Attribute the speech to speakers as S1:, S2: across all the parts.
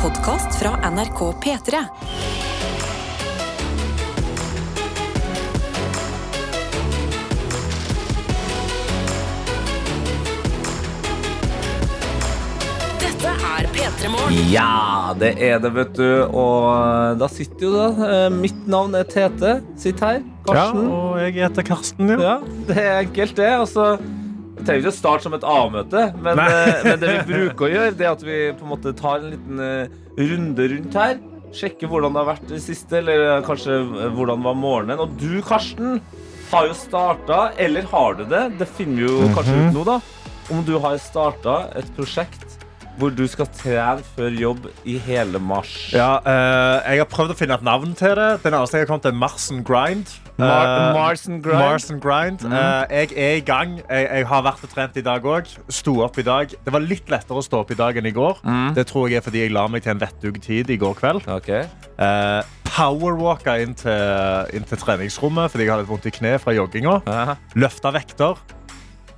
S1: podkast fra NRK P3. Dette er P3 Morgen.
S2: Ja, det er det, vet du. Og da sitter jo da eh, Mitt navn er Tete. Sitt her. Karsten.
S3: Ja, og jeg heter Karsten, ja.
S2: Ja, det er enkelt, det. Altså, vi trenger ikke å starte som et A-møte, men,
S3: Nei.
S2: eh, men det vi bruker å gjøre, det er at vi på en måte tar en liten eh, runde rundt her. Sjekker hvordan det har vært i det siste, eller eh, kanskje eh, hvordan var morgenen. Og du, Karsten, har jo starta, eller har du det? Det finner vi jo
S3: Mhm.
S2: kanskje ut nå, da. Om du har starta et prosjekt hvor du skal trene før jobb i hele mars.
S3: Ja, eh, jeg har prøvd å finne et navn til det. Den nærmeste jeg har kommet til, er Mars and Grind.
S2: Mar
S3: Eh,
S2: Mars and Grind.
S3: Mars and Grind. Eh, jeg er i gang. Jeg, jeg har vært og trent i dag òg. Sto opp i dag. Det var litt lettere å stå opp i dag enn i går. Det tror jeg er fordi jeg la meg til en vettug tid i går kveld.
S2: Ok.
S3: Uh, Powerwalka inn til, inn til treningsrommet fordi jeg har litt vondt i kneet fra jogginga.
S2: Ja.
S3: løfta vekter.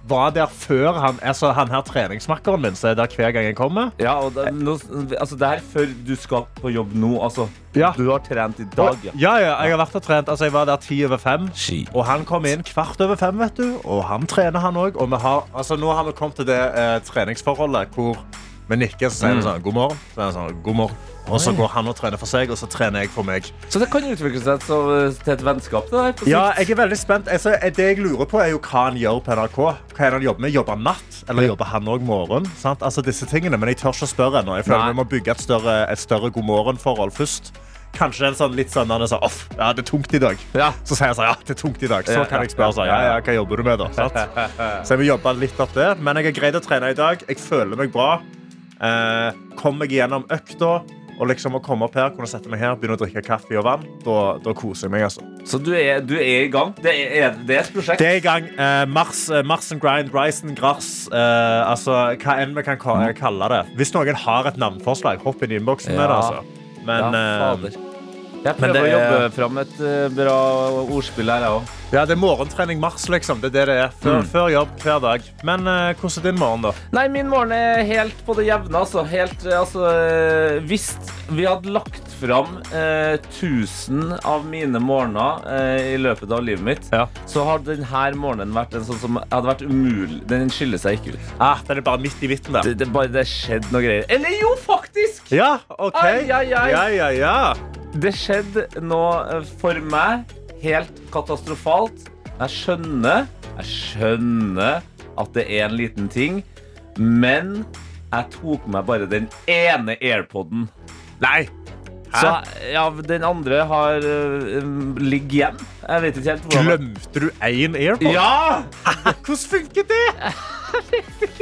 S3: Var der før han, altså han her treningsmakkeren min, så er der hver gang jeg kommer.
S2: Ja, og det, nå, altså det her før du skal på jobb nå, altså.
S3: Ja.
S2: Du har trent i dag, ja.
S3: Ja, ja, jeg har vært og trent. Altså, jeg var der ti over fem.
S2: Shit.
S3: Og han kom inn kvart over fem, vet du. Og han trener, han òg. Og vi har, altså, nå har vi kommet til det eh, treningsforholdet hvor vi nikker, så sier vi sånn god morgen. Så er han sånn, god morgen. Og så går han og trener for seg, og så trener jeg for meg.
S2: Så det kan utvikle seg til, til et vennskap det der på sikt.
S3: Ja, jeg er veldig spent. Altså, det jeg lurer på, er jo hva han gjør på NRK. Hva er det han jobber med? Jobber han natt? Eller jobber han òg morgen? Sant? Altså, disse tingene, men jeg tør ikke å spørre ennå. Jeg føler
S2: Nei.
S3: vi må bygge et større, et større god morgen-forhold først. Kanskje en sånn litt sånn han er sånn Off, ja, det er tungt i dag.
S2: Ja.
S3: Så sier jeg sånn, ja, det er tungt i dag.
S2: Ja,
S3: Så
S2: ja,
S3: kan jeg spørre sånn,
S2: ja,
S3: ja,
S2: ja.
S3: ja, hva jobber du med, da? Sant? Så jeg vil jobbe litt opp det. Men jeg har greid å trene i dag. Jeg føler meg bra. Eh, kom meg gjennom økta. Og liksom å komme opp her, kunne sette meg her, begynne å drikke kaffe og vann. Da, da koser jeg meg, altså.
S2: Så du er, du er i gang. Det er, det er et prosjekt.
S3: Det er i gang. Eh, mars, eh, mars and Grind, Rise and Grass. eh, altså, hva enn vi kan ka- eh, kalle det. Hvis noen har et navnforslag, hopp inn i innboksen med det.
S2: Ja.
S3: Altså. Men,
S2: ja,
S3: eh,
S2: fader. Jeg
S3: men
S2: prøver
S3: det
S2: å
S3: er-
S2: jobbe fram et eh, bra ordspill her, jeg òg.
S3: ja, det er morgentrening mars, liksom. Det er det det er. Før, før jobb, hver dag. Men eh, hvordan er din morgen, da?
S2: Nei, min morgen er helt på det jevne, altså. Helt, eh, altså eh, Hvis vi hadde lagt fram eh, 1000 av mine morgener eh, i løpet av livet mitt,
S3: Ja.
S2: så har denne morgenen vært en sånn som hadde vært umulig. Den skiller seg ikke ut.
S3: Ah, den er bare midt i midten der.
S2: Det, det, bare, det skjedde noe greier. Eller jo, faktisk!
S3: Ja, OK.
S2: Ai, ai, ai.
S3: Ja, ja, ja.
S2: Det skjedde noe eh, for meg helt katastrofalt. Jeg skjønner, jeg skjønner at det er en liten ting, men jeg tok meg bare den ene airpoden.
S3: Nei.
S2: Så
S3: Hæ?
S2: ja, den andre har uh, ligger hjem. Jeg vet ikke helt hvordan
S3: Glemte du én airpod?
S2: Ja!
S3: Hvordan funket det?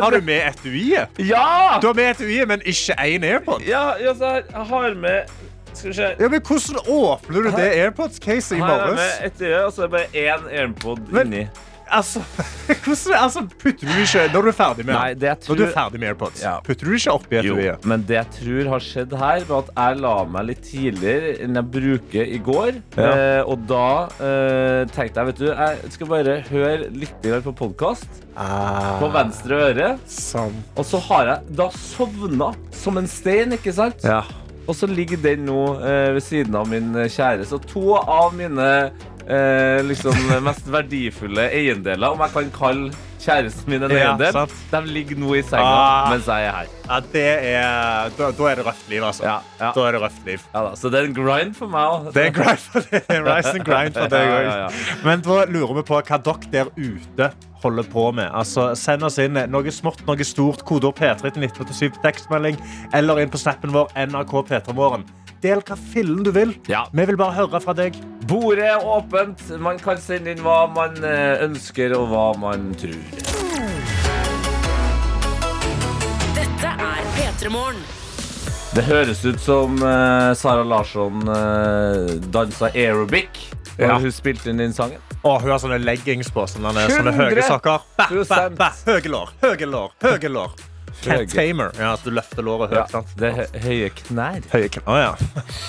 S3: Har du med etuiet?
S2: Ja!
S3: Du har med etuiet, men ikke én airpod?
S2: Ja, ja, så jeg- jeg har med Skal vi se.
S3: Ja, men Hvordan åpner du det AirPods-caset i
S2: Her er det
S3: morges?
S2: et øye, og så er det bare én airpod
S3: Men-
S2: inni.
S3: Altså, hvordan, altså, putter du ikke Når du er ferdig med
S2: Nei, det jeg
S3: Når du er
S2: tror-
S3: ferdig med AirPods,
S2: Ja.
S3: putter du ikke oppi et
S2: Jo,
S3: ue?
S2: men det jeg tror har skjedd her, var at jeg la meg litt tidligere enn jeg bruker i går.
S3: Ja.
S2: Eh, og da eh, tenkte jeg, vet du, jeg skal bare høre litt grann på podkast på venstre øre.
S3: Sånn.
S2: Og så har jeg da sovna som en stein, ikke sant?
S3: Ja.
S2: Og så ligger den nå eh, ved siden av min eh, kjære. Så to av mine eh, liksom mest verdifulle eiendeler, om jeg kan kalle kjæresten min en
S3: Ja,
S2: eiendel,
S3: sant.
S2: de ligger nå i senga
S3: Ah.
S2: mens jeg er her.
S3: ja, det er Da, da er det røft liv, altså.
S2: Ja, ja.
S3: Da er det røft liv.
S2: Ja da, Så det er en grind for meg òg.
S3: Det er en grind for deg. En rise and grind for deg
S2: Ja,
S3: òg.
S2: ja,
S3: Men da lurer vi på hva dere der ute holder på med. Altså, Send oss inn noe smått, noe stort, kodeord P3 til 1987 på tekstmelding, eller inn på snappen vår NRK P3morgen. Del hva fillen du vil.
S2: Ja.
S3: Vi vil bare høre fra deg.
S2: Bordet er åpent. Man kan sende inn hva man eh, ønsker, og hva man tror.
S1: Dette er P3 Morgen.
S2: Det høres ut som eh, Sara Larsson eh, dansa aerobic. Og
S3: Ja.
S2: hun spilte inn den sangen.
S3: Å, hun har sånne leggings på. Sånne, sånne høye
S2: 100%
S3: sokker. Ba, ba, ba. Høye lår, høye lår, høye lår. Cat tamer. Ja, at du løfter låret høyt. sant?
S2: Det er hø- høye knær.
S3: Høye kn... Å ja.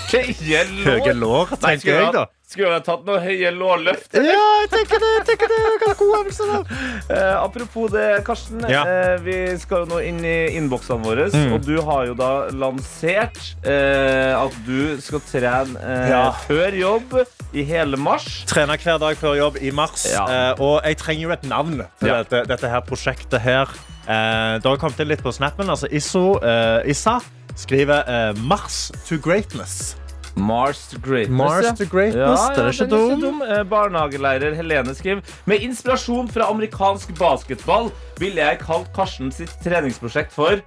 S2: Høye
S3: Høye lår,
S2: Nei,
S3: tenker
S2: skulle
S3: jeg, da.
S2: ha- Skulle ha tatt noe høye lårløft.
S3: Ja, jeg tenker det. Jeg tenker det. Hva er god øvelse, da?
S2: Eh, apropos det, Karsten.
S3: Ja. Mm.
S2: Eh, vi skal jo nå inn i innboksene våre. Og du har jo da lansert eh, at du skal trene eh,
S3: Ja.
S2: før jobb i hele mars.
S3: Trener hver dag før jobb i mars.
S2: Ja.
S3: Eh, og jeg trenger jo et navn til
S2: Ja.
S3: dette, dette her prosjektet her. Eh, det har kommet inn litt på snappen. Altså ISO, eh, Issa skriver eh, 'Mars to greatness'.
S2: Mars to greatness.
S3: Mars
S2: ja.
S3: to greatness, den er ikke
S2: den
S3: dum.
S2: Eh, Barnehagelærer Helene skriver Med inspirasjon fra amerikansk basketball ville jeg kalt Karsten sitt treningsprosjekt for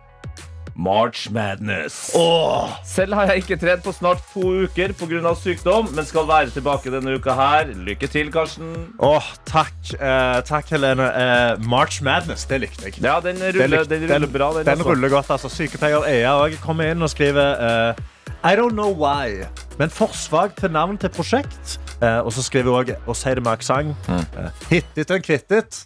S2: March Madness.
S3: Åh,
S2: Selv har jeg ikke trent på snart to uker pga. sykdom, men skal være tilbake denne uka her. Lykke til, Karsten.
S3: åh, takk, eh, takk, Helene. Eh, March Madness, det likte jeg.
S2: Ja, den
S3: Det
S2: ruller,
S3: likte-
S2: den ruller bra, den.
S3: den
S2: altså.
S3: ruller godt. Altså. Sykepleier Ea også kommer inn og skriver eh, I don't know why, men forslag til navn til prosjekt. Eh, og så skriver hun også, og sier det med aksent,
S2: Mm.
S3: eh, hittet en kvittet.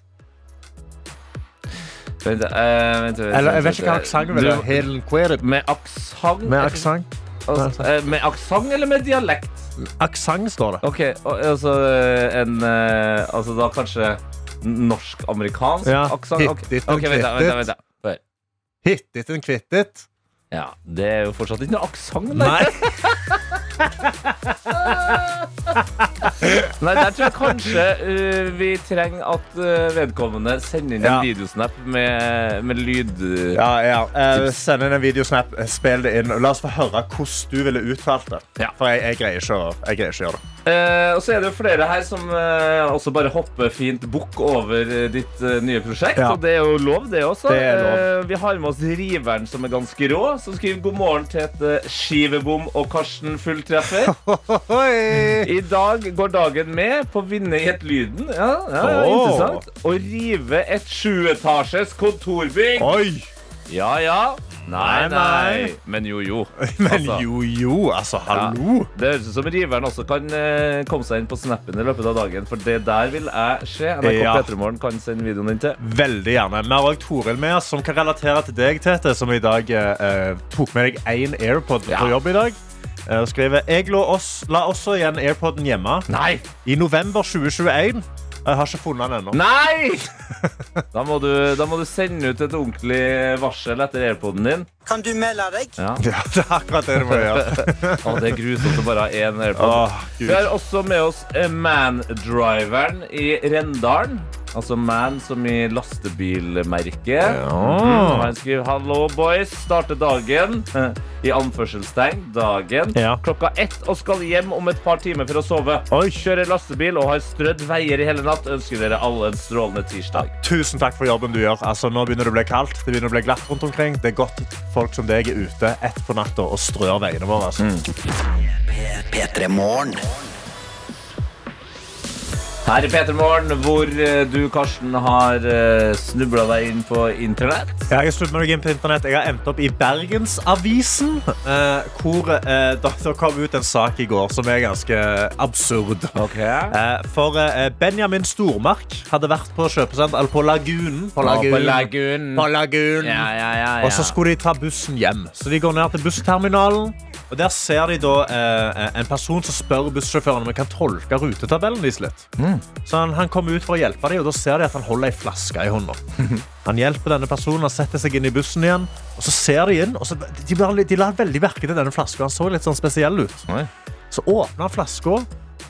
S2: Vent, eh, vent, vent,
S3: Eller
S2: vent,
S3: jeg vet ikke hva
S2: vent,
S3: aksent
S2: eh,
S3: vil
S2: du-
S3: være. Helen Querid.
S2: Med aksent?
S3: Med aksent.
S2: Altså, eh, Med aksent eller med dialekt?
S3: Aksent står det.
S2: Ok, og, altså eh, en eh, Altså da kanskje norsk-amerikansk
S3: Ja,
S2: aksent?
S3: hit-
S2: Ok,
S3: hit-
S2: ok, vent, da, vent, da,
S3: hit-
S2: vent, da. Hør.
S3: Hittet en kvittet.
S2: Ja, det er jo fortsatt ikke noe aksent. Nei.
S3: Nei.
S2: Nei, der tror jeg kanskje eh, vi trenger at eh, vedkommende sender inn en
S3: Ja.
S2: videosnap med, med lyd...
S3: Ja, ja. Eh, send inn en videosnap, eh, spill det inn. og La oss få høre hvordan du ville uttalt det.
S2: Ja.
S3: For jeg, jeg, greier ikke å, jeg greier ikke å gjøre det.
S2: Eh, og så er det jo flere her som eh, også bare hopper fint bukk over eh, ditt eh, nye prosjekt.
S3: Ja.
S2: Og det er jo lov, det også.
S3: Det er lov.
S2: Eh, vi har med oss Riveren, som er ganske rå, som skriver god morgen til et eh, skivebom og Karsten fulltreffer.
S3: Ohoi!
S2: I dag går dagen med på å vinne i et Lyden. Ja, ja, ja
S3: Åh.
S2: interessant. Å rive et sjuetasjes kontorbygg.
S3: Oi!
S2: Ja, ja. Nei,
S3: Nei,
S2: nei.
S3: nei.
S2: Men jo, jo.
S3: Men
S2: Altså.
S3: jo, jo, altså, hallo!
S2: Det høres ut som riveren også kan eh, komme seg inn på snappen i løpet av dagen. For det der vil jeg se. NRK
S3: Ja.
S2: Petremorgen kan sende videoen din til.
S3: Veldig gjerne. Vi har òg Toril med oss, som kan relatere til deg, Tete, som i dag eh, eh, tok med deg én AirPod
S2: Ja.
S3: på jobb i dag. Eh, Og skriver Jeg la, oss, la også igjen AirPoden hjemme
S2: Nei!
S3: i november 2021. Jeg har ikke funnet den ennå.
S2: Nei! Da må, du, da må du sende ut et ordentlig varsel etter airpoden din.
S4: Kan du melde deg?
S2: Ja.
S3: Ja, det er akkurat det du må gjøre.
S2: Å, det er grusomt å bare ha én airpod.
S3: Åh,
S2: Vi
S3: Gud.
S2: har også med oss eh, Man-driveren i Rendalen. Altså Man som i lastebilmerket. Mhm, Han skriver 'Hallo, boys. Starter dagen' eh, i anførselstegn. Dagen.
S3: Ja.
S2: Klokka ett og skal hjem om et par timer for å sove.
S3: Oi.
S2: Kjører lastebil og har strødd veier i hele natt. Ønsker dere alle en strålende tirsdag.
S3: Tusen takk for jobben du gjør. Altså, nå begynner det å bli kaldt. Det begynner å bli glatt rundt omkring. Det er godt folk som deg er ute ett på natta og strør veiene våre. Altså.
S2: Mm.
S4: P3 Morgen.
S2: Her i P3 Morgen, hvor eh, du, Karsten, har snubla deg inn på internett.
S3: Jeg har snudd meg inn på internett. Jeg har endt opp i Bergensavisen, eh, hvor eh, da- det kom ut en sak i går som er ganske absurd. Eh, for eh, Benjamin Stormark hadde vært på kjøpesenter Eller på Lagunen. På
S2: På lagunen.
S3: På Lagunen.
S2: Ja, ja, ja, ja.
S3: Og så skulle de ta bussen hjem. Så de går ned til bussterminalen. Og Der ser de da eh, en person som spør bussjåføren om han kan tolke rutetabellen deres litt.
S2: Mm.
S3: Så han, han kommer ut for å hjelpe dem, og da ser de at han holder ei flaske i hånda. Han hjelper denne personen, han setter seg inn i bussen igjen, og så ser de inn. Og så, de, lar- de la veldig merke til denne flaska. Han så litt sånn spesiell ut.
S2: Oi.
S3: Så åpner han flaska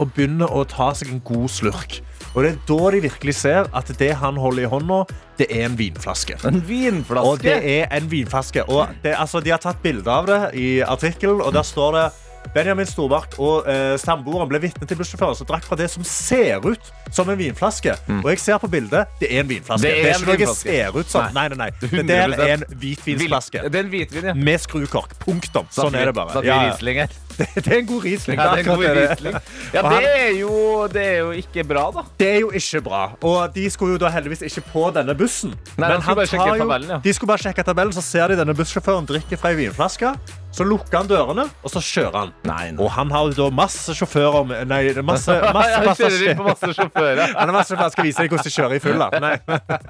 S3: og begynner å ta seg en god slurk. Og det er da de virkelig ser at det han holder i hånda, det er en vinflaske.
S2: En vinflaske?
S3: Og det er en vinflaske. Og det, altså, de har tatt bilde av det i artikkelen, og der står det Benjamin Storbark og eh, stamboeren ble vitne til bussjåføren som drakk fra det som ser ut som en vinflaske. Og jeg ser på bildet, det er en
S2: Mm.
S3: vinflaske.
S2: Det er
S3: ikke
S2: en
S3: noe jeg
S2: vinflaske.
S3: ser ut som. Nei,
S2: Nei.
S3: nei, nei.
S2: Det er
S3: Det der
S2: 100%
S3: er en hvitvinsflaske.
S2: Det er en hvitvin, ja.
S3: Med skrukork. Punktum. Sånn er det bare.
S2: Snakker vi
S3: Ja, ja.
S2: Riesling her?
S3: Det, det er en god Riesling.
S2: Ja, det er en god
S3: akkurat det.
S2: Riesling. Ja,
S3: Og
S2: det
S3: han-
S2: er jo, det er jo ikke bra, da.
S3: Det er jo ikke bra. Og de skulle jo da heldigvis ikke på denne bussen.
S2: Nei, de skulle bare sjekke
S3: tar
S2: tabellen, ja.
S3: De skulle bare sjekke tabellen, så ser de denne bussjåføren drikke fra ei vinflaske. Så lukker han dørene, og så kjører han.
S2: Nei,
S3: Og han har jo da masse sjåfører med Nei, det er masse, masse
S2: Jeg kjører inn
S3: passasjerer.
S2: på masse sjåfører.
S3: Han har masse jeg skal vise deg hvordan de kjører i full. Da. Nei.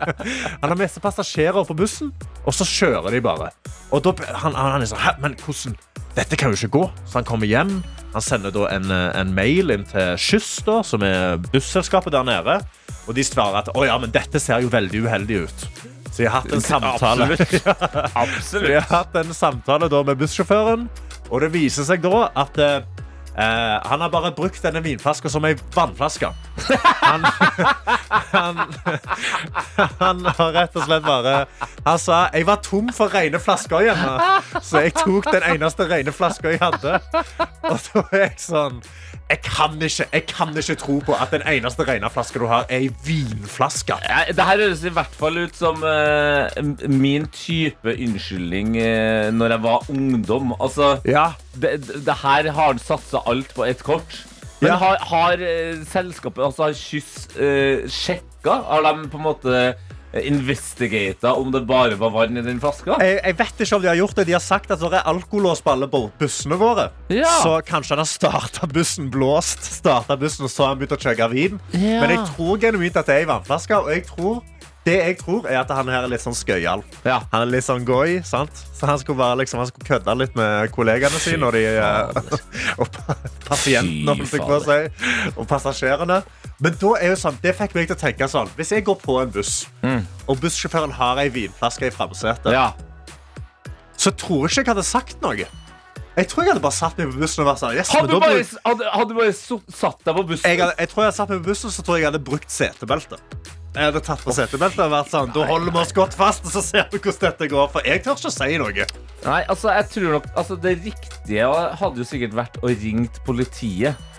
S3: Han har masse passasjerer på bussen, og så kjører de bare. Og da, han, han er sånn Hæ, men hvordan Dette kan jo ikke gå. Så han kommer hjem. Han sender da en, eh, en mail inn til Skyss, da, som er busselskapet der nede. Og de svarer at å ja, men dette ser jo veldig uheldig ut. Så de har hatt en samtale. Så de
S2: Absolutt.
S3: har hatt en samtale da med bussjåføren, og det viser seg da at eh, eh, han har bare brukt denne vinflaska som ei vannflaske. Han, han, han har rett og slett bare Han sa jeg var tom for rene flasker hjemme, så jeg tok den eneste rene flaska jeg hadde. Og da er jeg sånn jeg kan, ikke, jeg kan ikke tro på at den eneste rene flaska du har, er ei vinflaske.
S2: Ja, Det her høres i hvert fall ut som eh, m- min type unnskyldning uh, når jeg var ungdom. Altså,
S3: Ja,
S2: det, det- det her har han satsa alt på ett kort. Men
S3: Ja.
S2: har, har eh, selskapet, altså har Kyss eh, sjekka? Har de på en måte investigata om det bare var vann i den flaska?
S3: jeg, jeg vet ikke om de har gjort det. De har sagt at det er alkolås på alle bo- bussene våre.
S2: Ja.
S3: Så kanskje han har starta bussen blåst, startet bussen og så har han begynt å chugge vin.
S2: Ja.
S3: Men jeg tror genuint at det er i vannflaske. Og jeg tror, det jeg tror, er at han her er litt sånn skøyal.
S2: Ja.
S3: Han er litt sånn goy, sant? Så han skulle, bare, liksom, han skulle kødde litt med kollegaene sine og, de, eh, og pa- pasientene, om jeg fikk på å si, og passasjerene. Men da er jo sånn, det fikk meg til å tenke sånn Hvis jeg går på en buss,
S2: Mm.
S3: og bussjåføren har ei vinflaske i framsetet
S2: Ja.
S3: så tror jeg ikke jeg hadde sagt noe. Jeg tror jeg hadde bare satt meg på bussen og vært sånn yes, men
S2: Hadde du
S3: da
S2: bare,
S3: bruk-
S2: hadde, hadde du bare so- satt deg på bussen?
S3: jeg, hadde, jeg tror jeg hadde satt meg på bussen, så tror jeg jeg hadde brukt setebelte. Jeg hadde tatt på setebeltet og vært sånn, Da holder vi oss godt fast, og så ser vi hvordan dette går. For jeg tør ikke å si noe.
S2: Nei, altså, jeg tror nok altså, Det riktige hadde jo sikkert vært å ringe politiet.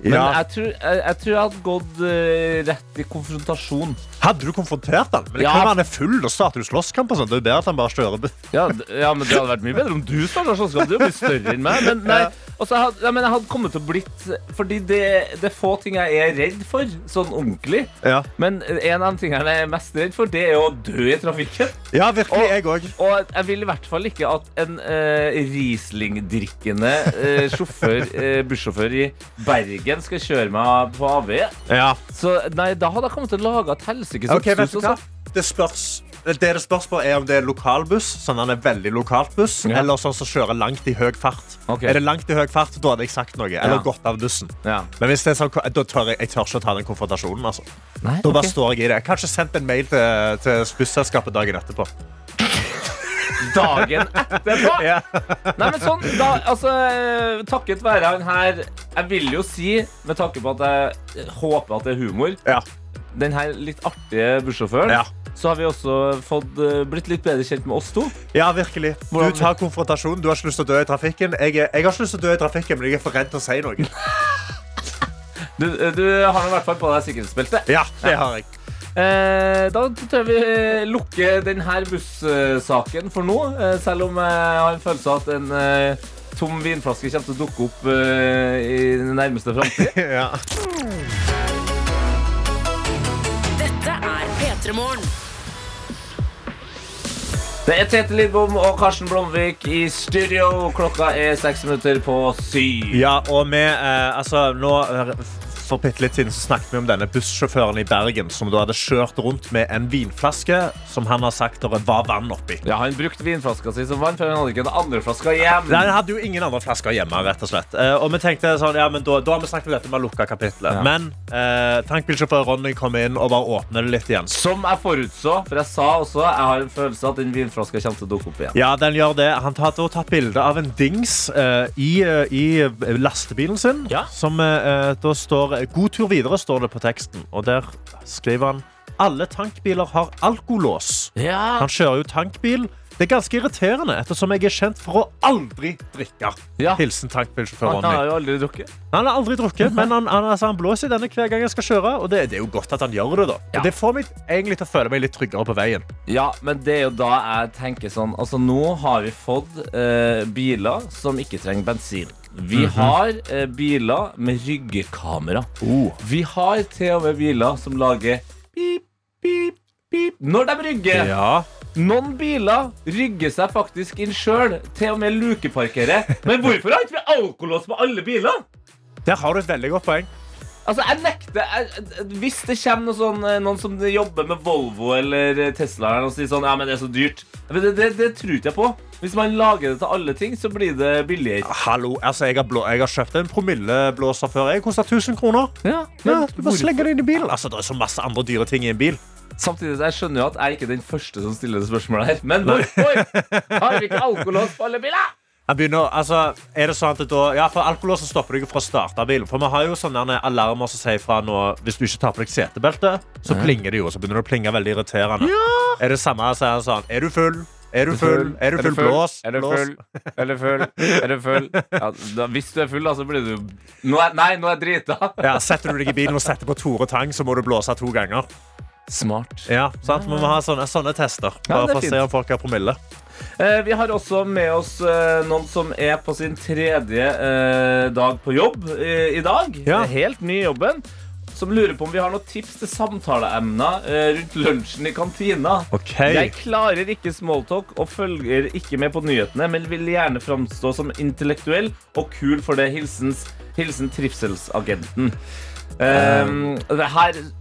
S2: Men jeg, tror, jeg, jeg tror jeg hadde gått eh, rett i konfrontasjon.
S3: Hadde du konfrontert han? Men det
S2: Ja.
S3: kan være han er full, og starter du slåsskamp og sånn. Det er jo bedre at han bare kjører bu-
S2: Ja, d- ja, men Det hadde vært mye bedre om du starta slåsskamp. Du er jo mye større enn meg. Men, nei, altså, jeg, hadde, ja, men jeg hadde kommet til å blitt Fordi det, det er få ting jeg er redd for, sånn ordentlig.
S3: Ja,
S2: Men en av de tingene jeg er mest redd for, det er å dø i trafikken.
S3: ja virkelig. Jeg òg.
S2: Og jeg vil i hvert fall ikke at en eh, Riesling-drikkende eh, sjåfør, eh, bussjåfør i Bergen skal kjøre meg på avveie.
S3: Ja.
S2: Så nei, da hadde jeg kommet til å lage et helsikes
S3: Ok, vet
S2: oppstuss.
S3: du hva?
S2: altså.
S3: Det spørs det det spørs på er om det er lokalbuss, sånn han er veldig lokalt buss,
S2: Ja.
S3: eller sånn som kjører langt i høy fart.
S2: Ok.
S3: Er det langt i høy fart, da hadde jeg sagt noe. Eller
S2: Ja.
S3: gått av bussen.
S2: Ja.
S3: Men hvis det er sånn, da tør jeg, jeg tør ikke å ta den konfrontasjonen. Altså.
S2: Nei,
S3: Da bare
S2: ok.
S3: står jeg i det. Jeg har kanskje sendt en mail til, til busselskapet dagen etterpå.
S2: dagen etterpå.
S3: Ja.
S2: Nei, men sånn, da, altså, eh, Takket være han her Jeg vil jo si, med tanke på at jeg eh, håper at det er humor
S3: Ja.
S2: Den her litt artige bussjåføren
S3: Ja.
S2: Så har vi også fått, eh, blitt litt bedre kjent med oss to
S3: ja, virkelig. Du
S2: Hvordan-
S3: tar konfrontasjonen. Du har ikke lyst til å dø i trafikken. Jeg, er- jeg har ikke lyst til å dø i trafikken, men jeg er for redd til å si noe.
S2: Du, eh, du har nå i hvert fall på deg sikkerhetsbeltet
S3: Ja, det har jeg.
S2: eh, Da tror jeg vi eh, lukker denne bussaken for nå eh, Selv om jeg har en følelse av at en eh, tom vinflaske kommer til å dukke opp eh, i den nærmeste fremtiden
S3: Ja.
S1: Dette er P3morgen.
S2: Det er Tete Lidbom og Karsten Blomvik i studio. Klokka er seks minutter på syv.
S3: Ja, og vi eh, altså, nå, eh, For bitte litt siden så snakket vi om denne bussjåføren i Bergen som da hadde kjørt rundt med en vinflaske som han har sagt det var vann oppi.
S2: Ja, Han brukte vinflaska si som vann, for han hadde ikke den andre flaska hjem.
S3: Nei, Han hadde jo ingen andre flasker hjemme. rett og slett Eh, Og vi tenkte sånn, ja, men da, da har vi snakket om dette med lukka
S2: Ja.
S3: kapitlet. Men eh, tankbilsjåfør Ronny kom inn og bare åpner det litt igjen.
S2: Som jeg forutså, for jeg sa også jeg har en følelse av at den vinflaska kommer til å dukke opp igjen.
S3: Ja, den gjør det. Han har tatt, tatt bilde av en dings eh, i, eh, i lastebilen sin.
S2: Ja.
S3: Som eh, da står 'God tur videre', står det på teksten. Og der skriver han 'Alle tankbiler har alkolås'.
S2: Ja,
S3: Han kjører jo tankbil. Det er ganske irriterende, ettersom jeg er kjent for å aldri drikke.
S2: Ja.
S3: Hilsen tankbilsjåfør
S2: Han har
S3: Ronny.
S2: jo Mhm. aldri drukket.
S3: Han har aldri drukket, men han, han, altså, han blåser i denne hver gang jeg skal kjøre. Og det, det er jo godt at han gjør det, da. Og det får meg egentlig til å føle meg litt tryggere på veien.
S2: Ja, men det er jo da jeg tenker sånn Altså, nå har vi fått eh, biler som ikke trenger bensin. Vi har eh, biler med ryggekamera. Vi har til og med biler som lager pip, pip, pip når de rygger.
S3: Ja.
S2: Noen biler rygger seg faktisk inn sjøl, til og med lukeparkere. Men hvorfor har ikke vi alkolås på alle biler?
S3: Der har du et veldig godt poeng.
S2: Altså, jeg nekter jeg, Hvis det kommer noe sånn, eh, noen som jobber med Volvo eller eh, Tesla her, og sier sånn Ja, men det er så dyrt. Men det, det, det tror ikke jeg på. Hvis man lager det til alle ting, så blir det billigere.
S3: Hallo, altså, jeg har, blå, jeg har kjøpt en promilleblåser før. Jeg koster 1000 kroner.
S2: Ja,
S3: Ja, du bare slenger det inn i bilen. Altså, det er så masse andre dyre ting i en bil.
S2: Samtidig, jeg skjønner jo at jeg ikke er den første som stiller det spørsmålet her. Men hvorfor har vi ikke alkolås på alle biler?
S3: Jeg begynner, altså, er det sånn at det da, ja, for Alkolåsen stopper deg jo fra å starte bilen. For vi har jo sånne derne alarmer som sier fra nå Hvis du ikke tar på deg setebeltet, så plinger det jo. og Så begynner det å plinge veldig irriterende. Er det samme sier han sånn Er du full? Er du full? Er du full? Blås.
S2: Er du
S3: blås.
S2: full? Er du full? Er du full? Ja, da, hvis du er full, da, så blir du nå er, Nei, nå er jeg drita.
S3: Ja, setter du deg i bilen og setter på Tore Tang, så må du blåse to ganger.
S2: Smart.
S3: Ja, sant? Vi må ha sånne, sånne tester.
S2: Ja,
S3: Bare
S2: det er
S3: for å se
S2: fint.
S3: om folk har promille.
S2: Eh, vi har også med oss eh, noen som er på sin tredje eh, dag på jobb eh, i dag.
S3: Ja.
S2: Eh, Helt ny i jobben. Som lurer på om vi har noen tips til samtaleemner eh, rundt lunsjen i kantina.
S3: Ok.
S2: Jeg klarer ikke smalltalk og følger ikke med på nyhetene, men vil gjerne framstå som intellektuell og kul for det. Hilsens, hilsen trivselsagenten. Ehm, det her det-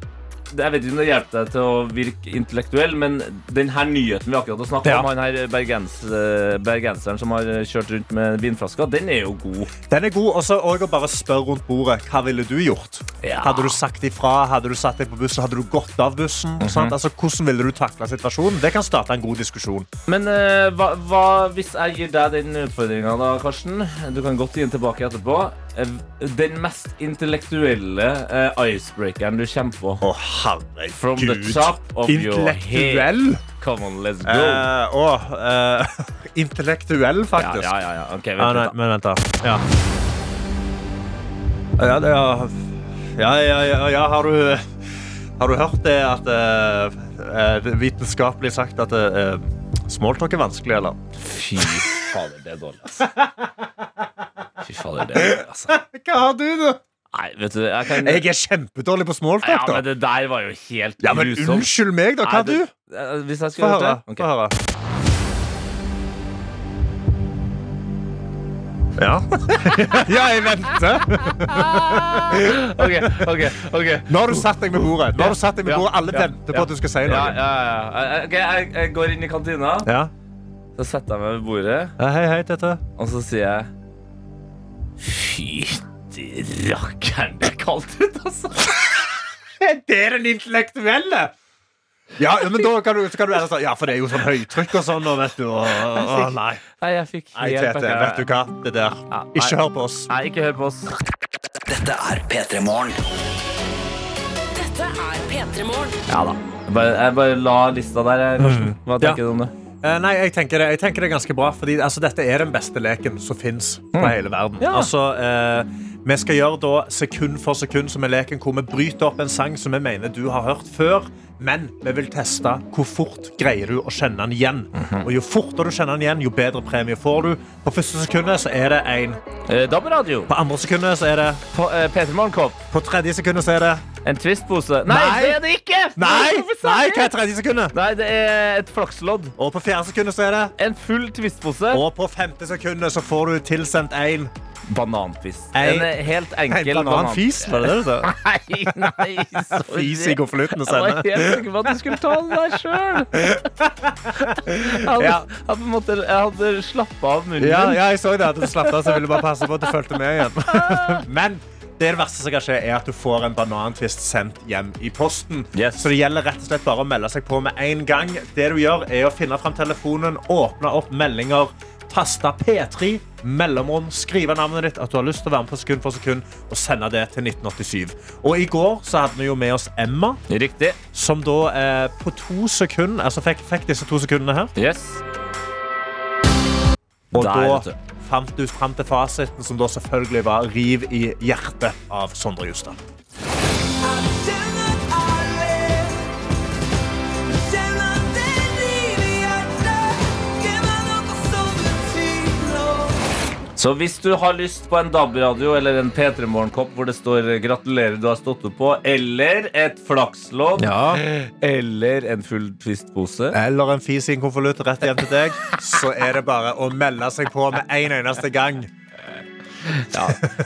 S2: Jeg vet ikke om det hjelper deg til å virke intellektuell, men den her nyheten vi akkurat har snakket
S3: Ja.
S2: om, han her bergens, eh, bergenseren som har kjørt rundt med vinflasker, den er jo god.
S3: Den er god. Og så også å bare spørre rundt bordet hva ville du gjort.
S2: Ja.
S3: Hadde du sagt ifra, hadde du satt deg på bussen, hadde du gått av bussen?
S2: Mhm.
S3: sant? Altså, hvordan ville du takle situasjonen? Det kan starte en god diskusjon.
S2: Men eh, hva, hva hvis jeg gir deg den utfordringa, da, Karsten? Du kan godt gi den tilbake etterpå. Eh, Den mest intellektuelle eh, icebreakeren du kommer på.
S3: Å,
S2: From the top of your head.
S3: Intellektuell?
S2: Come on, let's go.
S3: Eh, å, eh, intellektuell,
S2: ja,
S3: faktisk.
S2: ja, ja, ja. OK,
S3: Ja,
S2: vent
S3: Ah, nei,
S2: litt, da.
S3: men vent, da. Ja. Ja, det er, ja, ja, ja, ja, har du Har du hørt det at eh, eh, Vitenskapelig sagt at uh, smalltalk er vanskelig, eller?
S2: Fy fader, det er dårlig, altså. Fy fader, det er dårlig, altså.
S3: Hva har du, da?
S2: Nei, vet du, jeg kan
S3: Jeg er kjempedårlig på
S2: Ja,
S3: smalltalk, da.
S2: men det der var jo helt
S3: Ja, men
S2: grusomt.
S3: unnskyld meg, da.
S2: Nei,
S3: Hva du?
S2: eh, Hvis jeg
S3: Få
S2: skulle
S3: høre.
S2: gjort det? Ok.
S3: Få høre. Ja. ja, jeg venter.
S2: OK, OK. ok
S3: Nå har du satt deg med bordet. Nå har du satt deg med
S2: Ja.
S3: bordet. Alle
S2: Ja.
S3: venter på at du skal si
S2: Ja,
S3: noe.
S2: ja, ja. Ok, jeg, jeg går inn i kantina,
S3: Ja.
S2: så setter jeg meg ved bordet,
S3: Ja, Hei, hei, Tete.
S2: og så sier jeg Fytti rakkeren, det er kaldt ute, altså.
S3: Det er den intellektuelle. Ja, ja, men da kan du, så kan du ellers si, Ja, for det er jo sånn høytrykk og sånn, og vet du og, og, Nei,
S2: Nei, jeg fikk
S3: nei
S2: helt
S3: Tete.
S2: pakke.
S3: Vet du hva? Det der.
S2: Ja, nei.
S3: Ikke hør på oss.
S2: Nei, ikke hør på oss.
S4: Dette er P3 Morgen.
S1: Dette er P3 Morgen.
S2: Ja da. Mm. Jeg bare, jeg bare la lista der, jeg, Karsten. Hva tenker du om det?
S3: Eh, nei, jeg tenker, det, jeg tenker det er ganske bra, fordi altså, dette er den beste leken som fins på hele verden.
S2: Ja.
S3: Altså, eh, vi skal gjøre da sekund for sekund som er leken hvor vi bryter opp en sang som vi mener du har hørt før, men vi vil teste hvor fort greier du å kjenne den igjen. Og jo fortere du kjenner den igjen, jo bedre premie får du. På første sekundet så er det én.
S2: Eh, DAB-radio.
S3: På andre sekundet så er det
S2: På, eh, P3 Morgenkopp.
S3: På tredje sekundet så er det
S2: En Twist-pose. Nei,
S3: Nei.
S2: det er det ikke!
S3: Nei!
S2: Hvorfor sa
S3: Nei,
S2: jeg
S3: hva er
S2: det?
S3: tredje sekundet?
S2: Nei, det er et flakslodd.
S3: Og på fjerde sekundet så er det
S2: En full Twist-pose.
S3: Og på femte sekundet så får du tilsendt én.
S2: Bananfist.
S3: Ei-
S2: En eh, helt enkel
S3: En
S2: banan-
S3: bananfis, var det det du sa?
S2: Nei, nei, sorry.
S3: Fis i konvolutten og
S2: Jeg var
S3: sende.
S2: helt sikker på at du skulle ta det der sjøl. Jeg, hadde-
S3: Ja.
S2: jeg på en måte- jeg hadde slappa av munnen.
S3: Ja, ja, jeg så det. at du slapp av, så jeg ville bare passe på at du fulgte med igjen. Men det, er det verste som kan skje, er at du får en banantvist sendt hjem i posten.
S2: Yes.
S3: Så det gjelder rett og slett bare å melde seg på med en gang. Det du gjør, er å finne fram telefonen, åpne opp meldinger, taste P3, mellomrom, skrive navnet ditt, at du har lyst til å være med på sekund for sekund, og sende det til 1987. Og i går så hadde vi jo med oss Emma,
S2: Riktig.
S3: som da eh, på to sekunder, altså fikk, fikk disse to sekundene her.
S2: Yes.
S3: Og
S2: Der, vet du.
S3: da fant du fram til fasiten, som da selvfølgelig var riv i hjertet av Sondre Justad.
S2: Så hvis du har lyst på en DAB-radio eller en P3 Morgenkopp hvor det står eh, 'gratulerer, du har stått opp på', eller et flakslodd, eller en full twist-pose
S3: Eller en fis i en konvolutt rett hjem til deg, så er det bare å melde seg på med en eneste gang.
S2: det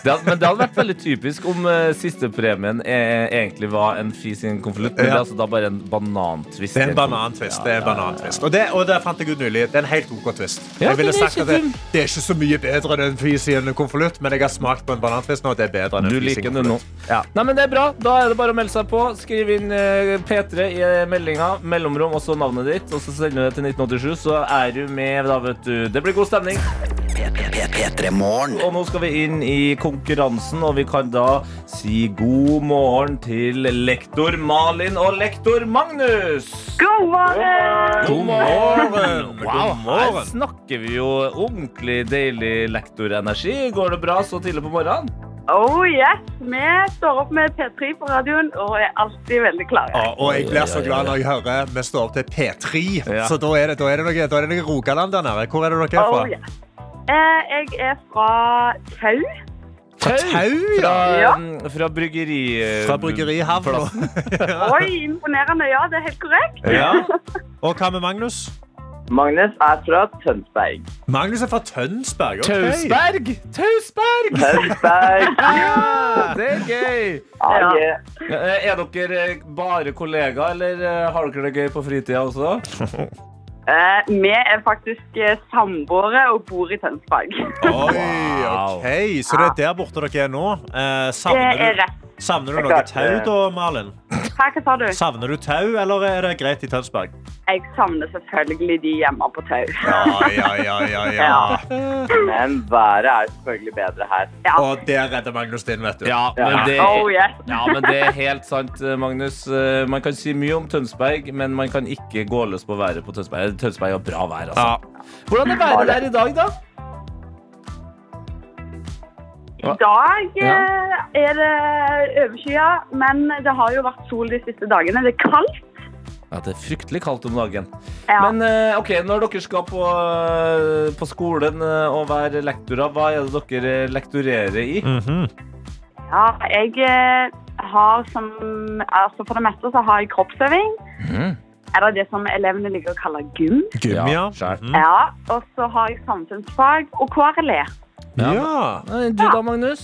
S2: hadde, Men det hadde vært veldig typisk om uh, sistepremien eh, egentlig var en fis i en konvolutt, men det er
S3: Ja.
S2: altså da bare en banantvist.
S3: Det er
S2: i
S3: en
S2: konvolutt.
S3: banantvist.
S2: Ja,
S3: Det er en
S2: ja, ja.
S3: banantvist. Og, det, og det fant jeg ut nylig. Det er en helt OK twist.
S2: Ja,
S3: Jeg ville
S2: den er
S3: sagt
S2: ikke
S3: at det,
S2: dum.
S3: det er ikke så mye bedre enn en fis i en konvolutt, men jeg har smakt på en banantvist nå, og det er bedre enn en
S2: Du
S3: fis i
S2: liker
S3: en
S2: den nå.
S3: konvolutt. Ja.
S2: Nei, men det er bra. Da er det bare å melde seg på. Skriv inn eh, P3 i eh, meldinga, mellomrom og så navnet ditt, og så sender du det til 1987, så er du med da, vet du. Det blir god stemning.
S4: P3 Morgen.
S2: Og nå skal vi inn i konkurransen, og vi kan da si god morgen til lektor Malin og lektor Magnus.
S5: God morgen!
S2: God morgen! Wow,
S3: God
S2: her
S3: morgen.
S2: snakker vi jo ordentlig deilig lektorenergi. Går det bra så tidlig på morgenen?
S5: Oh yes, vi står opp med P3 på radioen og er alltid veldig klare.
S3: Ja, og jeg blir så glad når jeg hører vi står opp til P3,
S2: Ja.
S3: så da er det, da er det, noe, da er det noe Rogaland der nede. Hvor er det dere er
S5: Oh
S3: fra?
S5: yes. Eh, jeg er fra Tau.
S2: Tau!
S3: Tau, ja.
S2: Fra, um,
S5: Ja.
S2: fra bryggeri...
S3: Fra bryggerihavna.
S5: Oi, imponerende. Ja, det er helt korrekt.
S2: Ja.
S3: Og hva med Magnus?
S6: Magnus er fra Tønsberg.
S3: Magnus er fra Tønsberg. ok.
S2: Tausberg! Tausberg!
S6: Tønsberg!
S2: Ja, det er gøy!
S6: Ja, ja.
S2: Eh, Er dere bare kollegaer, eller eh, har dere det gøy på fritida også?
S5: Eh, vi er faktisk eh, samboere og bor i Tønsberg.
S3: Oi, ok. Så det er der borte dere er nå. Eh,
S5: Det
S3: savner,
S5: er
S3: du,
S5: rett.
S3: savner du
S6: Jeg
S3: noe
S6: klarte-
S3: tau da, Malin?
S5: Hva, hva sa du?
S3: Savner du tau, eller er det greit i Tønsberg?
S5: Jeg savner selvfølgelig de hjemme på Tau.
S3: Ja, ja, ja, ja,
S5: Ja.
S6: Men været er selvfølgelig bedre her.
S5: Ja.
S3: Og der redder Magnus din, vet du.
S2: Ja, men
S6: Ja.
S2: det,
S5: Oh yes.
S2: ja, men det er helt sant, eh, Magnus. Eh, Man kan si mye om Tønsberg, men man kan ikke gå løs på været på Tønsberg. Tønsberg har bra vær, altså.
S3: Ja.
S2: Hvordan er været der i dag, da?
S5: I dag eh, er det overskya, men det har jo vært sol de siste dagene. Det er kaldt.
S2: Ja, Det er fryktelig kaldt om dagen.
S5: Ja.
S2: Men eh, ok, når dere skal på, eh, på skolen eh, og være lektorer, hva er det dere eh, lektorerer i?
S3: Mhm.
S5: Ja, jeg eh, har som Altså for det meste så har jeg kroppsøving. Eller det som elevene liker å kalle gym.
S3: Gym, ja.
S2: Ja, skjær.
S3: Mhm.
S5: Ja, Og så har jeg samfunnsfag og KRLE.
S2: Ja.
S3: ja.
S2: Eh, Du da, Magnus?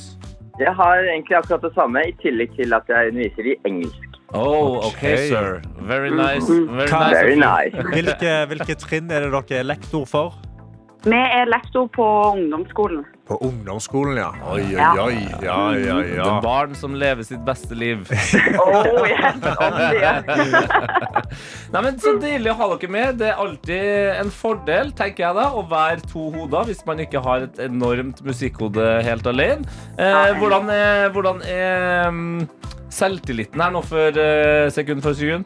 S6: Jeg har egentlig akkurat det samme, i tillegg til at jeg underviser i engelsk.
S2: Oh, okay,
S3: Okay.
S2: sir. Very nice. Very
S3: Kan-
S2: nice.
S6: Very nice.
S3: Hvilke, hvilke trinn er det dere er lektor for?
S5: Vi er lektor på ungdomsskolen.
S3: På ungdomsskolen, ja. Oi,
S5: Ja.
S3: oi, oi. Ja, ja, ja.
S2: Den barn som lever sitt beste liv.
S5: Oh, yes, om det.
S2: Nei, men Så deilig å ha dere med. Det er alltid en fordel tenker jeg da, å være to hoder hvis man ikke har et enormt musikkhode helt alene. Eh, hvordan er, hvordan er mm, selvtilliten her nå for eh, sekund for sekund?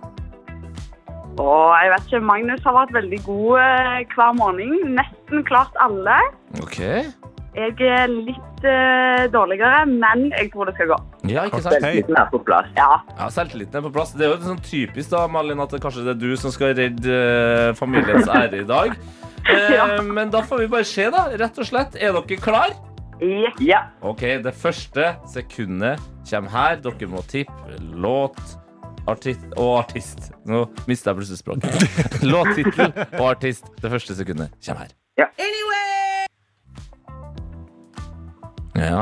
S5: Og jeg vet ikke, Magnus har vært veldig god eh, hver morgen. Nesten klart alle.
S2: Ok.
S5: Jeg er litt eh, dårligere, men jeg tror det skal gå.
S2: Ja, ikke sant?
S6: Selvtilliten er på plass.
S5: Ja.
S2: Ja, Selvtilliten er på plass. Det er jo litt sånn typisk da, Malin, at det kanskje det er du som skal redde eh, familiens ære i dag. Eh,
S5: Ja.
S2: Men da får vi bare se, da. Rett og slett. Er dere klar?
S5: Yes.
S6: Ja,
S2: OK, det første sekundet kommer her. Dere må tippe låt artist og artist. Nå mista jeg plutselig språket. Låttittel og artist. Det første sekundet kommer her.
S6: Ja.
S2: Ja.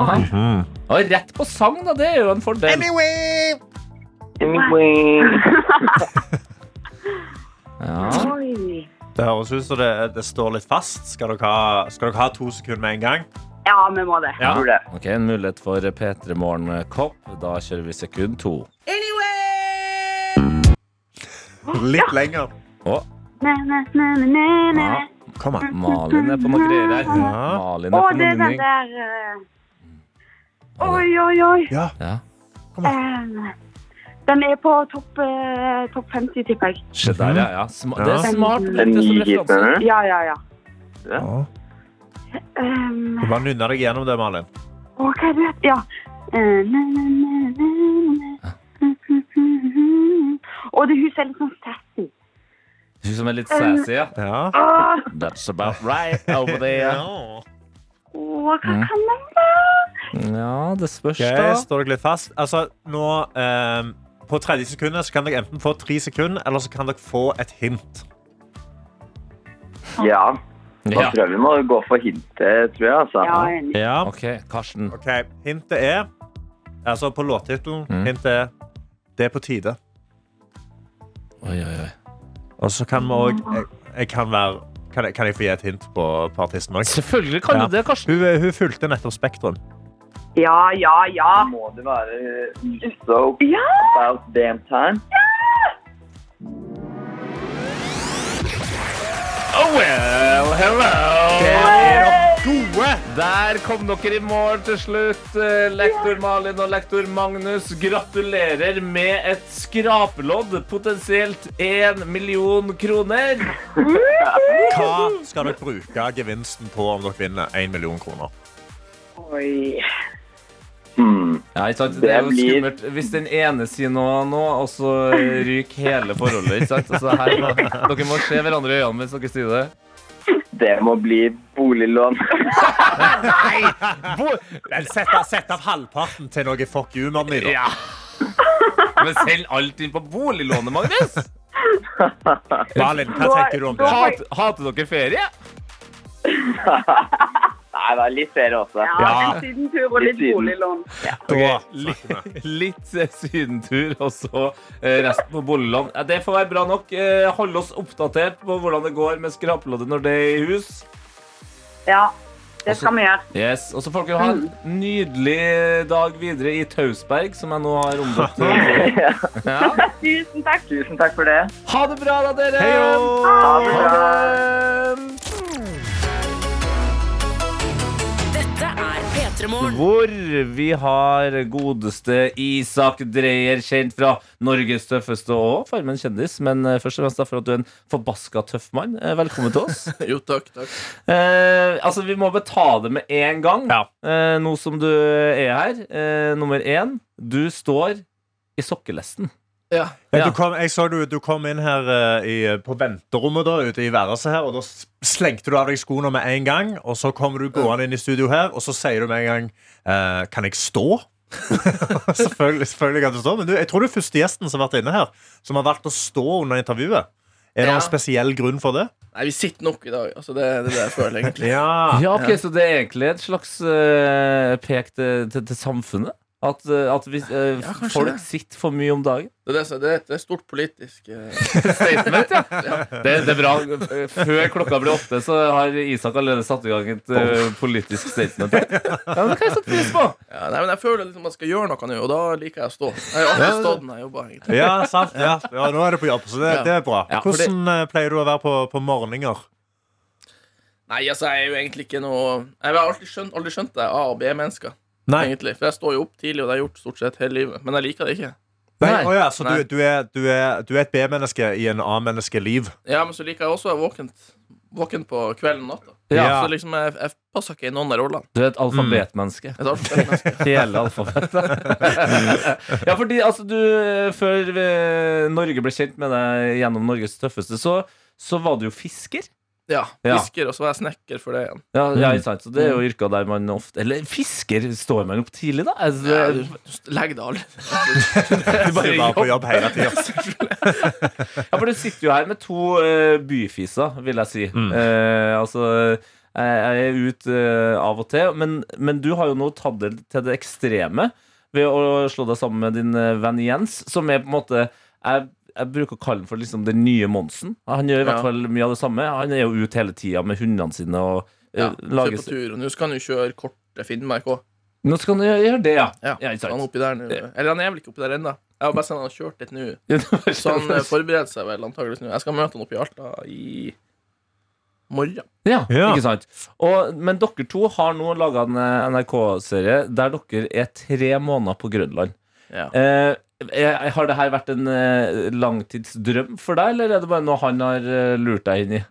S2: Og rett på sang, da. Det er jo en fordel.
S3: Anyway!
S2: Ja.
S5: Oi.
S3: Det høres ut som det, det står litt fast. Skal dere, ha, skal dere ha to sekunder med en gang?
S5: Ja, vi må det.
S6: tror det.
S2: Ok, En mulighet for P3 Morgen-kopp. Da kjører vi sekund to.
S3: Litt lenger.
S2: Å,
S5: Ne, ne, ne, ne, ne, ne.
S2: ja.
S3: Kom an.
S2: Malin er på noe greier her.
S3: Ja.
S2: Malin er på
S5: Å, det
S2: noe
S5: er den
S2: nynning.
S5: der eh, Oi, oi, oi.
S3: Ja.
S2: Ja.
S5: Eh, den er på topp eh, topp 50, tipper jeg.
S2: Se der, ja. ja. Sma det er
S3: Ja.
S2: smart.
S6: Den
S2: Det er som
S6: nye
S2: referanse.
S6: gitarren.
S5: Ja, ja, ja. Ehm,
S3: Du bare nynner deg gjennom det, Malin.
S5: Å, hva er det? Ja. Eh, Og det huset er litt sånn sassy.
S2: Hun som er litt sassy, ja.
S3: Ja.
S5: Åh,
S2: That's about right over there.
S3: Ja.
S5: åh, hva kan det være?
S2: Ja, det spørs,
S3: Ok,
S2: da.
S3: Står dere litt fast? Altså, nå ehm, På 30 sekunder så kan dere enten få tre sekunder, eller så kan dere få et hint.
S6: Ja. Da
S2: Ja.
S6: tror jeg vi må gå for hintet, tror jeg, altså.
S5: Ja, jeg er enig.
S3: Ja.
S2: OK, Karsten.
S3: Ok, Hintet er Altså, på låttittelen
S2: Mm.
S3: Hintet er Det er på tide.
S2: Oi, oi, oi.
S3: Og så kan vi òg jeg, jeg kan være kan jeg, kan jeg få gi et hint på, på artisten òg?
S2: Selvfølgelig kan
S3: Ja.
S2: du det, Karsten.
S3: Hun, hun fulgte nettopp Spektrum.
S5: ja, ja, ja.
S6: Da må det være uh, So
S5: Ja!
S6: About Damn Time.
S2: Oh well, hello!
S3: Gode!
S2: Der kom dere i mål til slutt, eh, lektor Malin og lektor Magnus. Gratulerer med et skrapelodd, potensielt én million kroner.
S3: Hva skal dere bruke gevinsten på om dere vinner 1 million kroner?
S5: Oi.
S6: Hmm.
S2: Ja, ikke sant?
S6: Det
S2: Det er jo
S6: blir-
S2: skummelt hvis den ene sier noe nå, og så ryker hele forholdet. Ikke sant? Altså, her må, dere må se hverandre i øynene hvis dere sier det.
S6: Det må bli boliglån.
S3: Vel, Sett av, sett av halvparten til noe fuck you-money. da.
S2: Ja. Men selg alt inn på boliglånet, Magnus!
S3: Malin, hva tenker du om det?
S2: Hat, hater dere ferie?
S6: Nei, det er litt ferie også.
S5: Ja,
S2: Ja.
S5: en sydentur og litt
S6: Litt syden.
S5: boliglån. Ja.
S3: Da
S2: Ok, li- Litt eh, sydentur, og så eh, resten på Bolleland. Ja, Det får være bra nok. Eh, Holde oss oppdatert på hvordan det går med skrapeloddet når det er i hus.
S5: ja. Det
S2: Også-
S5: skal vi gjøre.
S2: Yes, og så får dere ha en nydelig dag videre i Tausberg, som jeg nå har omdøpt. til- Ja.
S5: Tusen takk.
S6: Tusen takk for det.
S2: Ha det bra, da, dere!
S3: Heio!
S6: Ha det bra.
S2: Ha det!
S1: Dette er P3 Morgen.
S2: Hvor vi har godeste Isak Dreyer, kjent fra Norges tøffeste og Farmen kjendis. Men eh, først og fremst da for at du er en forbaska tøff mann. Eh, Velkommen til oss.
S7: Jo, takk. takk.
S2: Eh, altså, vi må betale med en gang,
S3: Ja.
S2: eh, nå som du er her. Eh, nummer én, du står i sokkelesten.
S7: Ja.
S3: Ja.
S2: Ja.
S3: Du kom, jeg så du, du kom inn her eh, i, på venterommet da, ute i værelset her, og da s- slengte du av deg skoene med en gang, og så kommer du gående inn i studio her, og så sier du med en gang, eh, kan jeg stå? selvfølgelig, selvfølgelig kan du stå, men du, jeg tror du er første gjesten som har vært inne her, som har valgt å stå under intervjuet. Er det
S7: Ja.
S3: noen spesiell grunn for det?
S7: Nei, vi sitter nok i dag. Altså, det det er det jeg føler, egentlig.
S3: Ja.
S2: Ja, ok, Så det er egentlig et slags eh, pek til, til, til samfunnet? At, eh, at hvis, eh,
S7: Ja, kanskje
S2: folk
S7: det.
S2: sitter for mye om dagen?
S7: Det er, det, som- det er et- det er et stort politisk eh,
S2: Statement, ja. Det, det er bra. Før klokka blir åtte, så har Isak allerede satt i gang et eh, politisk statement. her. Ja, men Det kan jeg sette pris på.
S7: ja, Nei, men jeg føler liksom man skal gjøre noe nå, og da liker jeg å stå. Jeg har alltid stått når jeg jobber, egentlig.
S3: Ja, sant. Ja. ja, nå er det på jobb, så det,
S7: Ja.
S3: det er bra.
S2: Ja, for det-
S3: Hvordan eh, pleier du å være på, på morgener?
S7: Nei, altså, jeg er jo egentlig ikke noe Jeg har alltid skjønt, aldri skjønt det, A- og B-mennesker,
S3: Nei,
S7: egentlig. For jeg står jo opp tidlig, og det har jeg gjort stort sett hele livet. Men jeg liker det ikke.
S3: Nei.
S2: Nei.
S3: Å ja, så
S7: Nei.
S3: du, du, er, du, er, du er et B-menneske i en A-menneske-liv.
S7: Ja, men så liker jeg også å være våkent. Våken på kvelden og natta.
S3: Ja.
S7: Så liksom, jeg, jeg passer ikke i noen av rollene.
S2: Du er et alfabetmenneske.
S7: Jeg tar for meg mennesker.
S2: Mm. Hele alfabetet. ja, fordi altså, du eh, Før eh, Norge ble kjent med deg gjennom Norges tøffeste, så, så var du jo fisker.
S7: Ja.
S2: Ja.
S7: Fisker, og så var jeg snekker for det igjen.
S2: Ja, ja, ikke sant? Så det er
S7: Mm.
S2: jo yrker der man ofte Eller fisker står man opp tidlig, da? Altså,
S7: Ja, du, du legger deg aldri.
S3: Du
S2: bare
S3: var på jobb hele tida.
S2: Ja, for du sitter jo her med to eh, byfiser, vil jeg si.
S7: Mm.
S2: Eh, altså, jeg, jeg er ute av og til, men, men du har jo nå tatt det til det ekstreme ved å slå deg sammen med din eh, venn Jens, som er på en måte jeg, jeg bruker å kalle ham for liksom den nye Monsen. Han gjør i hvert
S7: Ja.
S2: fall mye av det samme. Han er jo ute hele tida med hundene sine og eh,
S7: Ja,
S2: lager
S7: se på tur, og nå skal han jo kjøre kortet Finnmark òg.
S2: Nå skal han gjøre gjøre det, ja.
S7: Ja,
S2: Ja, ikke
S7: så
S2: sant.
S7: han er oppi der nå. Eller han er vel ikke oppi der ennå. Jeg har bare sett han har kjørt litt nå. Så han eh,
S2: ja.
S7: forbereder seg vel antakeligvis nå. Jeg skal møte han oppe i Alta i morgen.
S3: Ja.
S2: ikke sant? Og, men dere to har nå laga en eh, NRK-serie der dere er tre måneder på Grønland.
S7: Ja.
S2: Eh, eh, har det her vært en eh, langtidsdrøm for deg, eller er det bare noe han har eh, lurt deg inn i?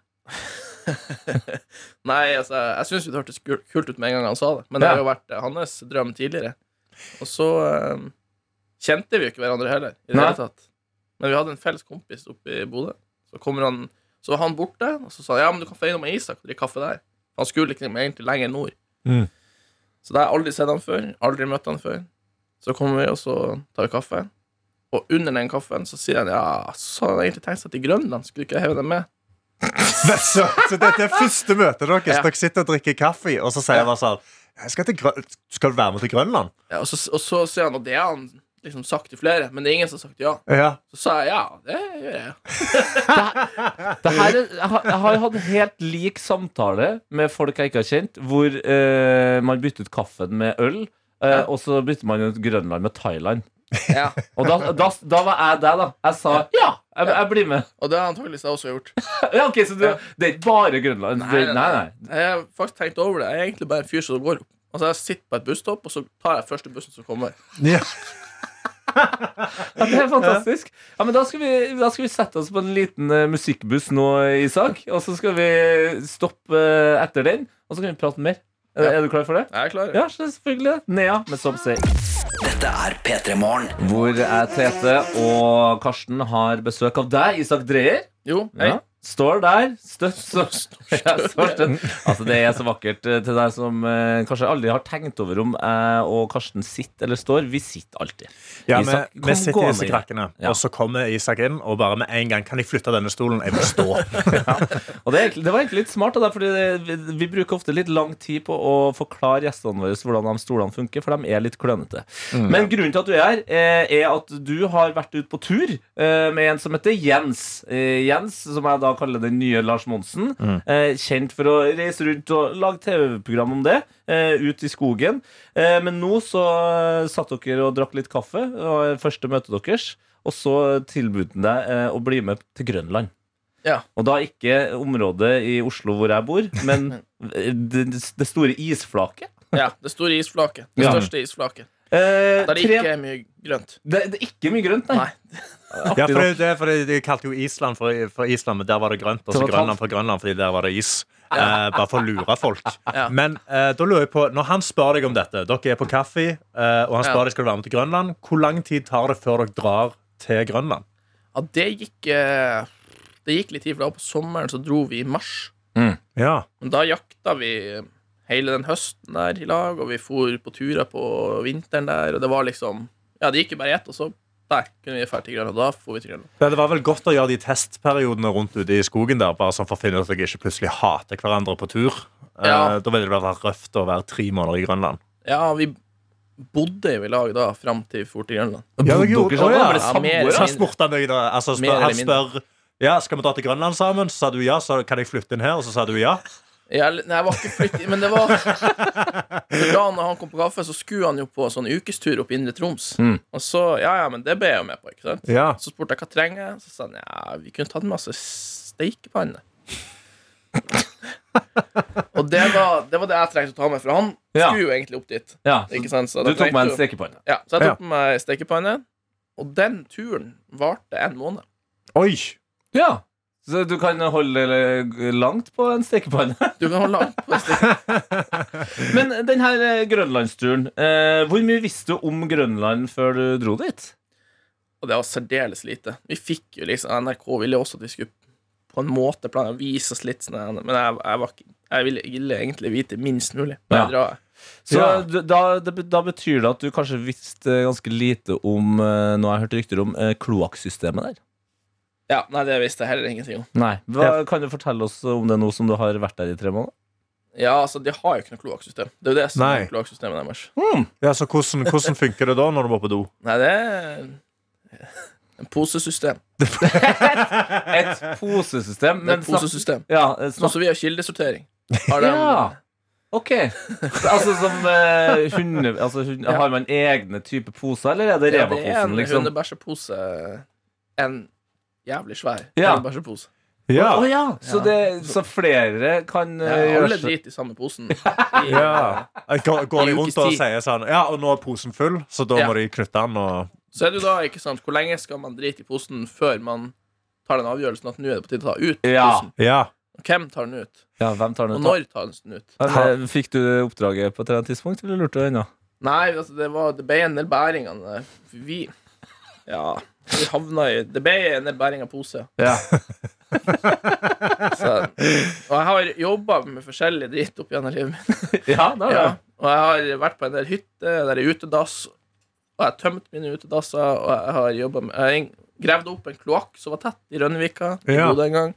S7: Nei, altså, jeg syns jo det hørtes kul- kult ut med en gang han sa det, men det
S2: Ja.
S7: har jo vært eh, hans drøm tidligere. Og så eh, kjente vi jo ikke hverandre heller, i det
S2: Nei.
S7: hele tatt. Men vi hadde en felles kompis oppe i Bodø. Så kommer han Så var han borte, og så sa han ja, men du kan få innom med Isak og drikke kaffe der. Han skulle liksom egentlig lenger nord.
S3: Mm.
S7: Så da har jeg aldri sett han før, aldri møtt han før. Så kommer vi, og så tar vi kaffe. Og under den kaffen så sier han ja, så hadde jeg egentlig tenkt seg til Grønland, skulle du ikke heve dem med?
S3: Så, så dette er første møte deres.
S7: Ja.
S3: Dere sitter og drikker kaffe, og så sier jeg bare sånn jeg skal, til Grøn skal du være med til Grønland?
S7: Ja, og, så, og så sier han at det har han liksom sagt til flere, men det er ingen som har sagt ja.
S3: Ja.
S7: Så sa jeg ja, det gjør jeg.
S2: Det her, er- jeg har- jeg har hatt en helt lik samtale med folk jeg ikke har kjent, hvor eh, man bytter ut kaffen med øl, eh,
S7: Ja.
S2: og så bytter man ut Grønland med Thailand.
S7: ja.
S2: Og da, da, da var jeg der, da. Jeg sa ja, jeg, jeg blir med.
S7: Og det har antakeligvis jeg også gjort.
S2: Ja, ok, Så du,
S7: Ja.
S2: det er ikke bare Grønland? Nei, nei. nei,
S7: Jeg har faktisk tenkt over det. Jeg er egentlig bare en fyr som går Altså, jeg sitter på et busstopp, og så tar jeg første bussen som kommer.
S3: Ja.
S2: Ja, det er fantastisk. Ja, men da skal, vi, da skal vi sette oss på en liten eh, musikkbuss nå, Isak. Og så skal vi stoppe eh, etter den, og så kan vi prate mer. Er-
S7: Ja.
S2: Er du klar for det?
S7: Jeg er klar.
S2: Ja, selvfølgelig. Nea med Stop Say.
S4: Dette er P3 Morgen.
S2: Hvor er Tete og Karsten har besøk av deg, Isak Dreyer.
S7: Jo, hei.
S2: Ja. Står der, støtt som ja, står støtt. Altså, det er så vakkert eh, til deg som eh, kanskje aldri har tenkt over om jeg og Karsten sitter eller står. Vi sitter alltid.
S3: Ja, vi,
S2: Isak,
S3: vi
S2: kom
S3: sitter i
S2: gående
S3: disse
S2: inn.
S3: krakkene,
S2: Ja.
S3: og så kommer Isak inn og bare med en gang Kan jeg flytte denne stolen? Jeg må stå.
S2: Og det, er egentlig- det var egentlig litt smart, da, fordi det, vi, vi bruker ofte litt lang tid på å forklare gjestene våre hvordan de stolene funker, for de er litt klønete. Men grunnen til at du er her, eh, er at du har vært ute på tur eh, med en som heter Jens. Eh, Jens, som jeg da kaller den nye Lars Monsen. Eh, kjent for å reise rundt og lage TV-program om det. Eh, ut i skogen. Eh, men nå så eh, satt dere og drakk litt kaffe, og første møte deres. Og så tilbød han deg eh, å bli med til Grønland.
S7: Ja.
S2: Og da ikke området i Oslo hvor jeg bor, men det, det store isflaket.
S7: ja. Det store isflaket. Det
S2: Ja.
S7: største isflaket.
S2: Eh,
S7: Der det
S2: tre-
S7: ikke er mye grønt.
S2: det, det er ikke mye grønt, nei.
S7: Nei.
S3: Ja, for det, det, for det, De kalte jo Island for, for Island, men der var det grønt. Og
S2: Det
S3: så
S2: var
S3: Grønland for Grønland, fordi der var det is. Eh, bare for å lure folk.
S7: Ja.
S3: Men eh, da lurer jeg på, når han spør deg om dette Dere er på kaffe, eh, og han spør
S7: Ja.
S3: deg skal du være med til Grønland. Hvor lang tid tar det før dere drar til Grønland?
S7: Ja, det gikk eh, Det gikk litt tid, for da på sommeren så dro vi i mars.
S3: Ja,
S7: Men da jakta vi hele den høsten der i lag, og vi for på turer på vinteren der, og det var liksom Ja, det gikk jo bare i ett, og så der kunne vi dra til Grønland. Og da for vi til Grønland.
S3: Det var vel godt å gjøre de testperiodene rundt ute i skogen der, bare sånn for å finne ut at dere ikke plutselig hater hverandre på tur. Eh,
S7: Ja.
S3: Da ville det være røft å være tre måneder i Grønland.
S7: Ja, vi bodde jo i lag da fram til vi for til Grønland.
S3: Ja,
S2: Bodde
S3: dere gjorde-
S2: dere sammen?
S3: Å, ja.
S2: Var det
S7: Ja,
S2: samboere?
S7: mer-
S3: Så spurte han deg da altså,
S7: Mer
S3: spør,
S7: eller
S3: Han spør ja, skal vi dra til Grønland sammen. Så sa du ja. Så kan jeg flytte inn her? Og så sa du ja.
S7: Jeg, nei, jeg var ikke flyttig, men det var Så da når han kom på kaffe, så skulle han jo på sånn ukestur opp i Indre Troms.
S2: Mm.
S7: Og så Ja, ja, men det ble jeg jo med på, ikke sant?
S3: Ja.
S7: Så spurte jeg hva trenger jeg Så sa han ja, vi kunne tatt med oss en steikepanne. og det var, det var det jeg trengte å ta med, for han
S2: Ja.
S7: skulle jo egentlig opp dit.
S2: Ja, så
S7: Ikke sant? Så
S2: du
S7: da
S2: tok
S7: trengte
S2: meg en
S7: jo-
S2: stekepanne.
S7: Ja, så jeg
S3: Ja.
S7: tok med meg en steikepanne, og den turen varte en måned.
S3: Oi!
S2: Ja. Så du kan holde eh, langt på en stekepanne.
S7: Du kan holde an på en stekepanne.
S2: Men den her eh, grønlandsturen, eh, hvor mye visste du om Grønland før du dro dit?
S7: Og det var særdeles lite. Vi fikk jo liksom NRK ville jo også at vi skulle på en måte plan- vise oss litt, sånn, men jeg, jeg, var, ikke- jeg ville, ville egentlig vite minst mulig.
S2: Ja.
S7: Men jeg drar.
S2: Så
S3: Ja.
S2: du- da, det, be- da betyr det at du kanskje visste ganske lite om eh, Nå har jeg hørt rykter om eh, kloakksystemet der.
S7: Ja, nei, det visste jeg heller ingenting om.
S2: Nei. Hva, Kan du fortelle oss om det nå som du har vært der i tre måneder?
S7: Ja, altså, de har jo ikke noe kloakksystem. Det er jo det som
S3: Nei.
S7: er kloakksystemet deres.
S3: Ja, så hvordan, hvordan funker det da når du må på do?
S7: Nei, det er en posesystem.
S2: Et posesystem.
S7: Det er
S2: Men
S7: et
S2: snakk-
S7: posesystem.
S2: ja, eh,
S7: Sånn
S2: snakk
S7: som vi har kildesortering. Har de,
S2: Ja. Ok. Altså som eh, hunde... Altså, hund-
S7: Ja.
S2: Har man egne type poser, eller er det
S7: Ja, det er
S2: revaposen,
S7: en
S2: liksom?
S7: hundebæsjepose. En jævlig svær
S2: Ja.
S7: hundebæsjepose.
S2: Å ja. Så,
S7: Ja.
S2: det, så flere kan eh,
S7: Ja,
S2: gjøre
S7: alle
S2: seg-
S7: driter i samme posen. I,
S3: Ja. Går, går de
S7: I
S3: rundt
S7: ukes
S3: og
S7: tid.
S3: sier sånn Ja, og nå er posen full, så da
S7: Ja.
S3: må de knytte den og
S7: Så er det jo da, ikke sant, hvor lenge skal man drite i posen før man tar den avgjørelsen at nå er det på tide å ta ut
S2: Ja.
S7: posen?
S3: Ja.
S7: Hvem tar den ut?
S2: Ja, hvem tar
S7: Og
S2: den ut?
S7: når tar den den ut?
S2: da? Men, eh, Fikk du oppdraget på et eller annet tidspunkt, eller lurte du ennå?
S7: Nei, altså, det, var, det ble en del bæringer. eh, Vi Ja, vi havna i Det ble en del bæring av pose.
S2: Ja.
S7: Så, og jeg har jobba med forskjellig dritt opp gjennom livet mitt.
S2: Ja, da,
S7: Ja. Og jeg har vært på en del hytter der det er utedass, og jeg har tømt mine utedasser, og jeg har jobbet med Jeg gravde opp en kloakk som var tett i Rønnevika. i
S3: Ja.
S7: Bodø en gang.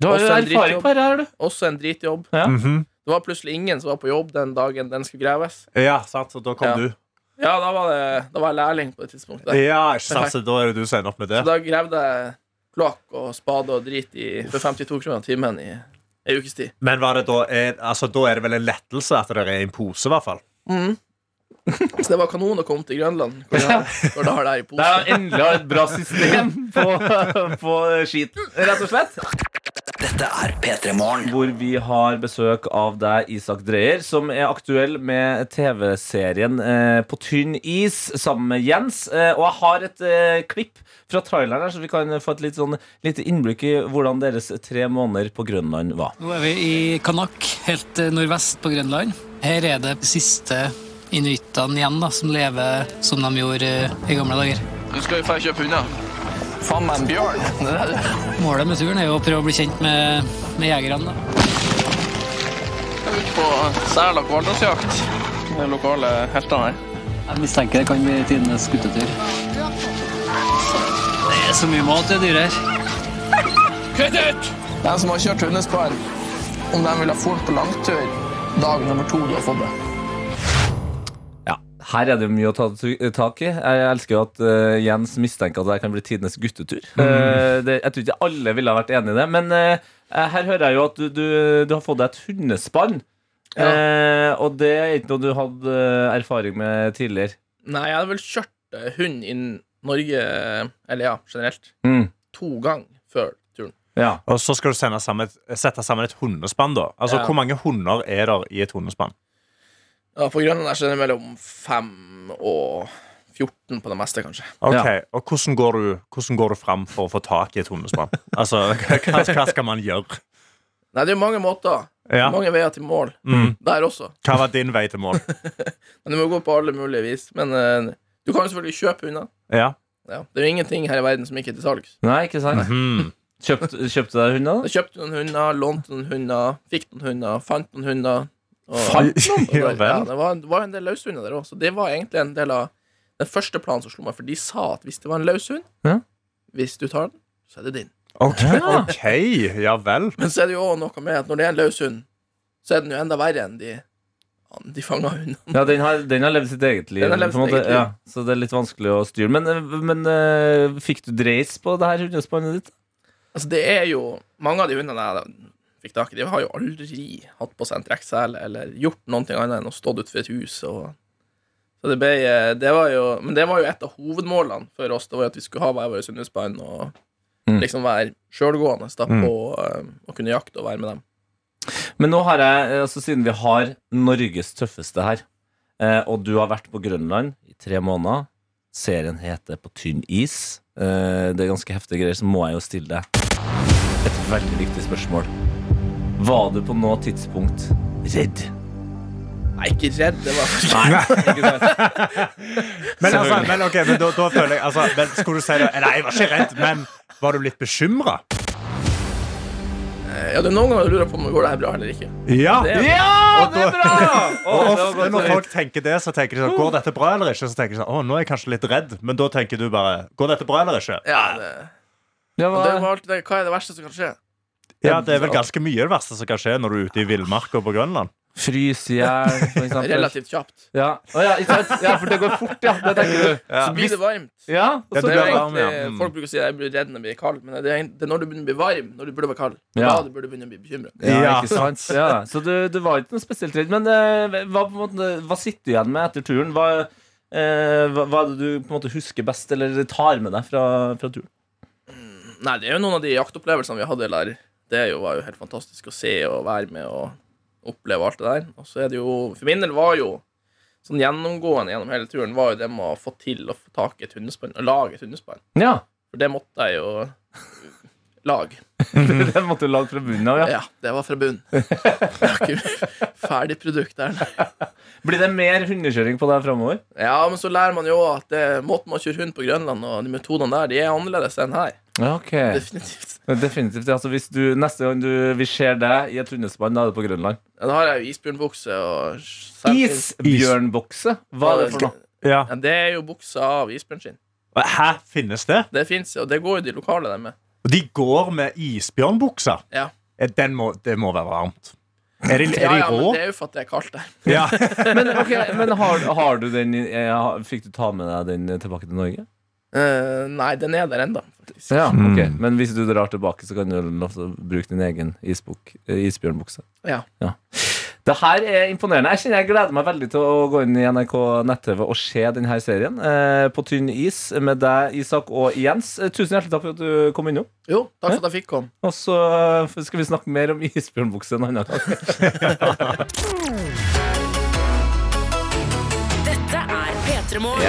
S2: Du har jo
S7: Også en
S2: erfaring på
S7: drittjobb.
S2: dette, her, du.
S7: Også en dritjobb.
S3: Mhm.
S7: Det var plutselig ingen som var på jobb den dagen den skulle graves.
S3: Ja, sant, så da kom
S7: Ja.
S3: du.
S7: Ja, da var, det, da var jeg lærling på det tidspunktet.
S3: Ja, ikke sant, så da er det du som ender opp med det.
S7: Så da gravde jeg kloakk og spade og drit i, for 52 kroner timen i ei ukes tid.
S3: Men var det da, er, altså, da er det vel en lettelse at det er en pose, i hvert fall.
S7: Så det var kanon å komme til Grønland. Hvor jeg, hvor da har det her i
S2: Det
S7: pose.
S2: er jo endelig et bra system på, på skiten, rett og slett.
S4: Dette er P3 Morgen.
S2: Hvor vi har besøk av deg, Isak Dreyer, som er aktuell med TV-serien eh, På tynn is sammen med Jens. Eh, og jeg har et eh, klipp fra traileren her, så vi kan få et litt sånn, lite innblikk i hvordan deres tre måneder på Grønland var.
S8: Nå er vi i Kanak, helt eh, nordvest på Grønland. Her er det siste inuittene igjen da, som lever som de gjorde eh, i gamle dager.
S7: Nå skal vi få kjøpe hunder. Faen meg en bjørn.
S8: Målet med turen er jo å prøve å bli kjent med, med jegerne. da.
S7: Ut på sel- og hvaldagsjakt. De lokale heltene her.
S8: Jeg mistenker det kan bli tidenes guttetur. Det er så mye mat det dyret her.
S7: Kutt ut! De som har kjørt hundespann, om de ville ha fôr på langtur, dag nummer to du har fått det.
S2: Ja, Her er det mye å ta t- tak i. Jeg elsker jo at eh, Jens mistenker at det her kan bli tidenes guttetur.
S7: Mm.
S2: Eh, det, jeg tror ikke alle ville ha vært enig i det, men eh, her hører jeg jo at du, du, du har fått deg et hundespann.
S7: Ja.
S2: Eh, og det er ikke noe du hadde eh, erfaring med tidligere.
S7: Nei, jeg hadde vel kjørt eh, hund i Norge, eh, eller ja, generelt,
S2: Mm.
S7: to ganger før turen.
S2: Ja.
S3: Og så skal du sende sammen et, sette sammen et hundespann, da. Altså,
S7: Ja.
S3: Hvor mange hunder er der i et hundespann?
S7: Ja, på Grønland er det mellom 5 og 14 på det meste, kanskje.
S3: Ok,
S2: Ja.
S3: Og hvordan går, du, hvordan går du fram for å få tak i et hundespann? altså, hva, hva skal man gjøre?
S7: Nei, det er jo mange måter.
S3: Ja.
S7: Mange veier til mål.
S3: Mm.
S7: Der også.
S3: Hva var din vei til mål?
S7: Men du må gå på alle mulige vis. Men eh, du kan jo selvfølgelig kjøpe hunder.
S3: Ja.
S7: Ja. Det er jo ingenting her i verden som ikke er til salgs.
S2: Nei, ikke sant?
S3: Hmm.
S2: Kjøpt, kjøpte deg hund, da?
S7: Jeg kjøpte noen hunder, lånte noen hunder, fikk noen hunder, fant noen hunder. Og,
S3: Fant noen?
S7: Ja,
S3: Ja vel.
S7: det, var, det var en del løshunder der òg, så det var egentlig en del av den første planen som slo meg, for de sa at hvis det var en løshund,
S2: Ja.
S7: hvis du tar den, så er det din.
S3: Ok, ok, ja vel.
S7: Men så er det jo også noe med at når det er en løshund, så er den jo enda verre enn de, de fanga hundene.
S2: Ja, den har, den har levd sitt eget liv.
S7: Mm. Den har levd
S2: på en
S7: sitt
S2: måte.
S7: eget liv.
S2: Ja, så det er litt vanskelig å styre. Men, eh, men eh, fikk du dreis på det her hundespannet ditt?
S7: Altså, det er jo Mange av de hundene jeg fikk tak i, de har jo aldri hatt på seg en trekksele eller gjort noe annet enn å stått utenfor et hus. og... Så det ble, eh, det var jo, men det var jo et av hovedmålene for oss. Det var jo at vi skulle ha hver vår hundespann og
S2: Mm.
S7: liksom være sjølgående da,
S3: Mm.
S7: på eh, å kunne jakte og være med dem.
S2: Men nå har jeg, eh, altså siden vi har Norges tøffeste her, eh, og du har vært på Grønland i tre måneder Serien heter På tynn is. Eh, det er ganske heftige greier, så må jeg jo stille deg et veldig viktig spørsmål. Var du på noe tidspunkt redd?
S7: Nei, ikke redd. Det var
S3: Men, altså, men, ok, men da, da føler jeg altså, men, Skulle du si det? Nei, jeg var ikke redd, men var du litt bekymra?
S7: Ja, du, noen ganger lurer jeg på om går det her bra eller ikke.
S3: Ja!
S7: Det er-
S3: Og da-
S2: Å, det var
S3: Og ofte
S2: godt å
S3: når
S2: vite.
S3: folk tenker det, så tenker de sånn Går dette bra eller ikke? Så tenker de sånn, å, nå er jeg kanskje litt redd Men da tenker du bare, går dette bra eller ikke?
S7: Ja, det,
S2: Ja,
S7: og det
S2: hva-
S7: var alltid, det. Hva er det verste som kan skje?
S3: Ja, det er vel ganske mye det verste som kan skje Når du er ute i villmarka på Grønland
S2: Fryse i hjel, for eksempel.
S7: Relativt kjapt.
S2: Ja. Å, ja, ikke sant? ja, for det går fort, ja. Det tenker du. Så
S7: Blir det
S2: hvis-
S7: varmt?
S2: Ja, og så
S3: Ja, det
S7: Det er jo
S3: blir varm,
S7: egentlig,
S3: ja. Mm.
S7: Folk bruker å si at jeg blir redd når jeg blir kald, men det er, det er når du begynner å bli varm, når du burde være kald.
S2: Ja.
S7: Da du burde begynne å bli bekymret.
S2: Ja,
S3: Ja.
S2: ikke sant? Ja. Så du, du var ikke noe spesielt redd. Men eh, hva, på en måte, hva sitter du igjen med etter turen? Hva, eh, hva, hva er det du på en måte husker best, eller tar med deg fra, fra turen?
S7: Nei, det er jo noen av de jaktopplevelsene vi hadde der. Det er jo, var jo helt fantastisk å se og være med og oppleve alt det der. Og så er det jo For min del var jo sånn gjennomgående gjennom hele turen var jo det med å få til å få tak i et hundespann, og lage et hundespann.
S2: Ja.
S7: For det måtte jeg jo lag.
S2: Den måtte du lage fra bunnen av, ja.
S7: Ja, det var fra bunnen. Det var ikke Ferdig produkt der. nei.
S2: Blir det mer hundekjøring på deg framover?
S7: Ja, men så lærer man jo at det, måten man kjører hund på Grønland, og de metodene der, de er annerledes enn her.
S2: Ja, ok.
S7: Definitivt.
S2: Definitivt. Altså, hvis du, neste gang du, vi ser deg i et hundespann, da er det på Grønland.
S7: Ja, Da har jeg jo isbjørnbukse og
S2: Isbjørnbokse? Hva er det for noe?
S3: Ja.
S7: Ja, det er jo buksa av isbjørnskinn.
S3: Hæ, finnes det?
S7: Det fins, og det går jo de lokale der med.
S3: Og de går med isbjørnbukser.
S7: Ja.
S3: Eh, Den må, det må være varmt. Er de, er
S7: Ja,
S3: de
S7: ja, men
S3: rå?
S7: det er jo for at det er kaldt der.
S3: Ja.
S2: Men, ok, men har, har du den i- eh, har- Fikk du ta med deg den tilbake til Norge?
S7: Eh, nei, den er der ennå.
S2: Ja, ok.
S3: Mm.
S2: Men hvis du drar tilbake, så kan du lov- bruke din egen isbok, eh, isbjørnbukse.
S7: Ja.
S2: Det her er imponerende. Jeg kjenner jeg gleder meg veldig til å gå inn i NRK nett-TV og se denne serien eh, på tynn is med deg, Isak og Jens. Eh, Tusen hjertelig takk for at du kom innom.
S7: Jo, takk for at jeg fikk komme.
S2: Og så eh, skal vi snakke mer om isbjørnbukse en annen gang.
S1: Dette er P3 Morgen.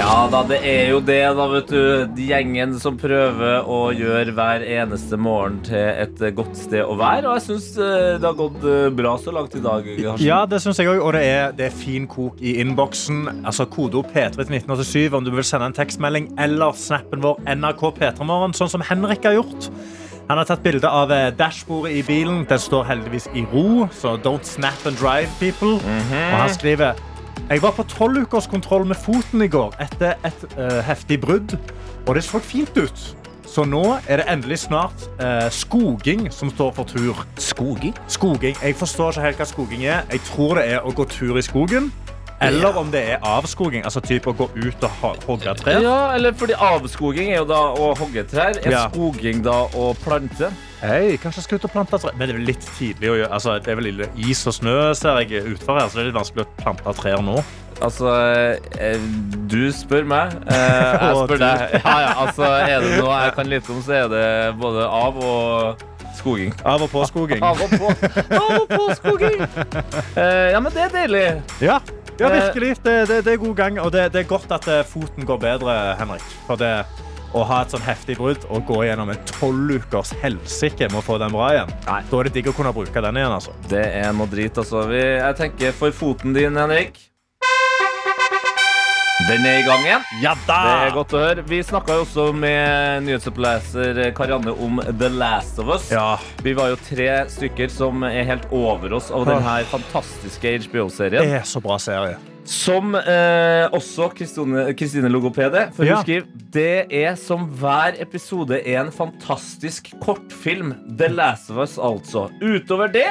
S2: Ja da, det er jo det, da, vet du. De Gjengen som prøver å gjøre hver eneste morgen til et eh, godt sted å være. Og jeg syns eh, det har gått eh, bra så langt i dag. Karsten.
S3: Ja, det syns jeg òg. Og det er, det er fin kok i innboksen. Altså Kodeord P3 til 1987 om du vil sende en tekstmelding eller snappen vår NRK P3morgen, sånn som Henrik har gjort. Han har tatt bilde av eh, dashbordet i bilen. Den står heldigvis i ro, så don't snap and drive, people. Og han skriver Jeg var på tolvukerskontroll med foten i går etter et eh, heftig brudd, og det så fint ut. Så nå er det endelig snart eh, skoging som står for tur.
S2: Skoging?
S3: Skoging. Jeg forstår ikke helt hva skoging er. Jeg tror det er å gå tur i skogen. Eller om det er avskoging. Altså typ å gå ut og ho- hogge tre.
S2: Ja, eller fordi avskoging er jo da å hogge trær. Er
S3: Ja.
S2: skoging da å plante?
S3: Hei, kanskje jeg skal ut og plante tre. Men det er vel litt tidlig å gjøre. Altså, det er vel lille is og snø ser jeg utfor her, så det er litt vanskelig å plante trær nå.
S2: Altså, eh, du spør meg. eh, Jeg
S3: Og du.
S2: spør deg. Ja, ja, altså, er det noe jeg kan lite om, så er det både av og skoging.
S3: Av og på skoging.
S2: Av og på. Av og på skoging! Eh, Ja, men det er deilig.
S3: Ja, ja
S2: Eh.
S3: virkelig. Det, det, det er god gang. Og det, det er godt at eh, foten går bedre, Henrik. For det å ha et sånn heftig brudd og gå gjennom en tolvukers helsike med å få den bra igjen,
S2: Nei.
S3: da er det digg å kunne bruke den igjen, altså.
S2: Det er noe drit, altså. Vi, jeg tenker for foten din, Henrik. Den er i gang igjen.
S3: Ja da!
S2: Det er godt å høre. Vi snakka jo også med nyhetsoppleser Karianne om The Last of Us.
S3: Ja.
S2: Vi var jo tre stykker som er helt over oss av denne fantastiske HBO-serien.
S3: Ah. Det er så bra serie.
S2: Som eh, også Kristine Kristine Logopede. For
S3: Ja.
S2: hun skriver det er som hver episode er en fantastisk kortfilm. The Last of Us, altså. Utover det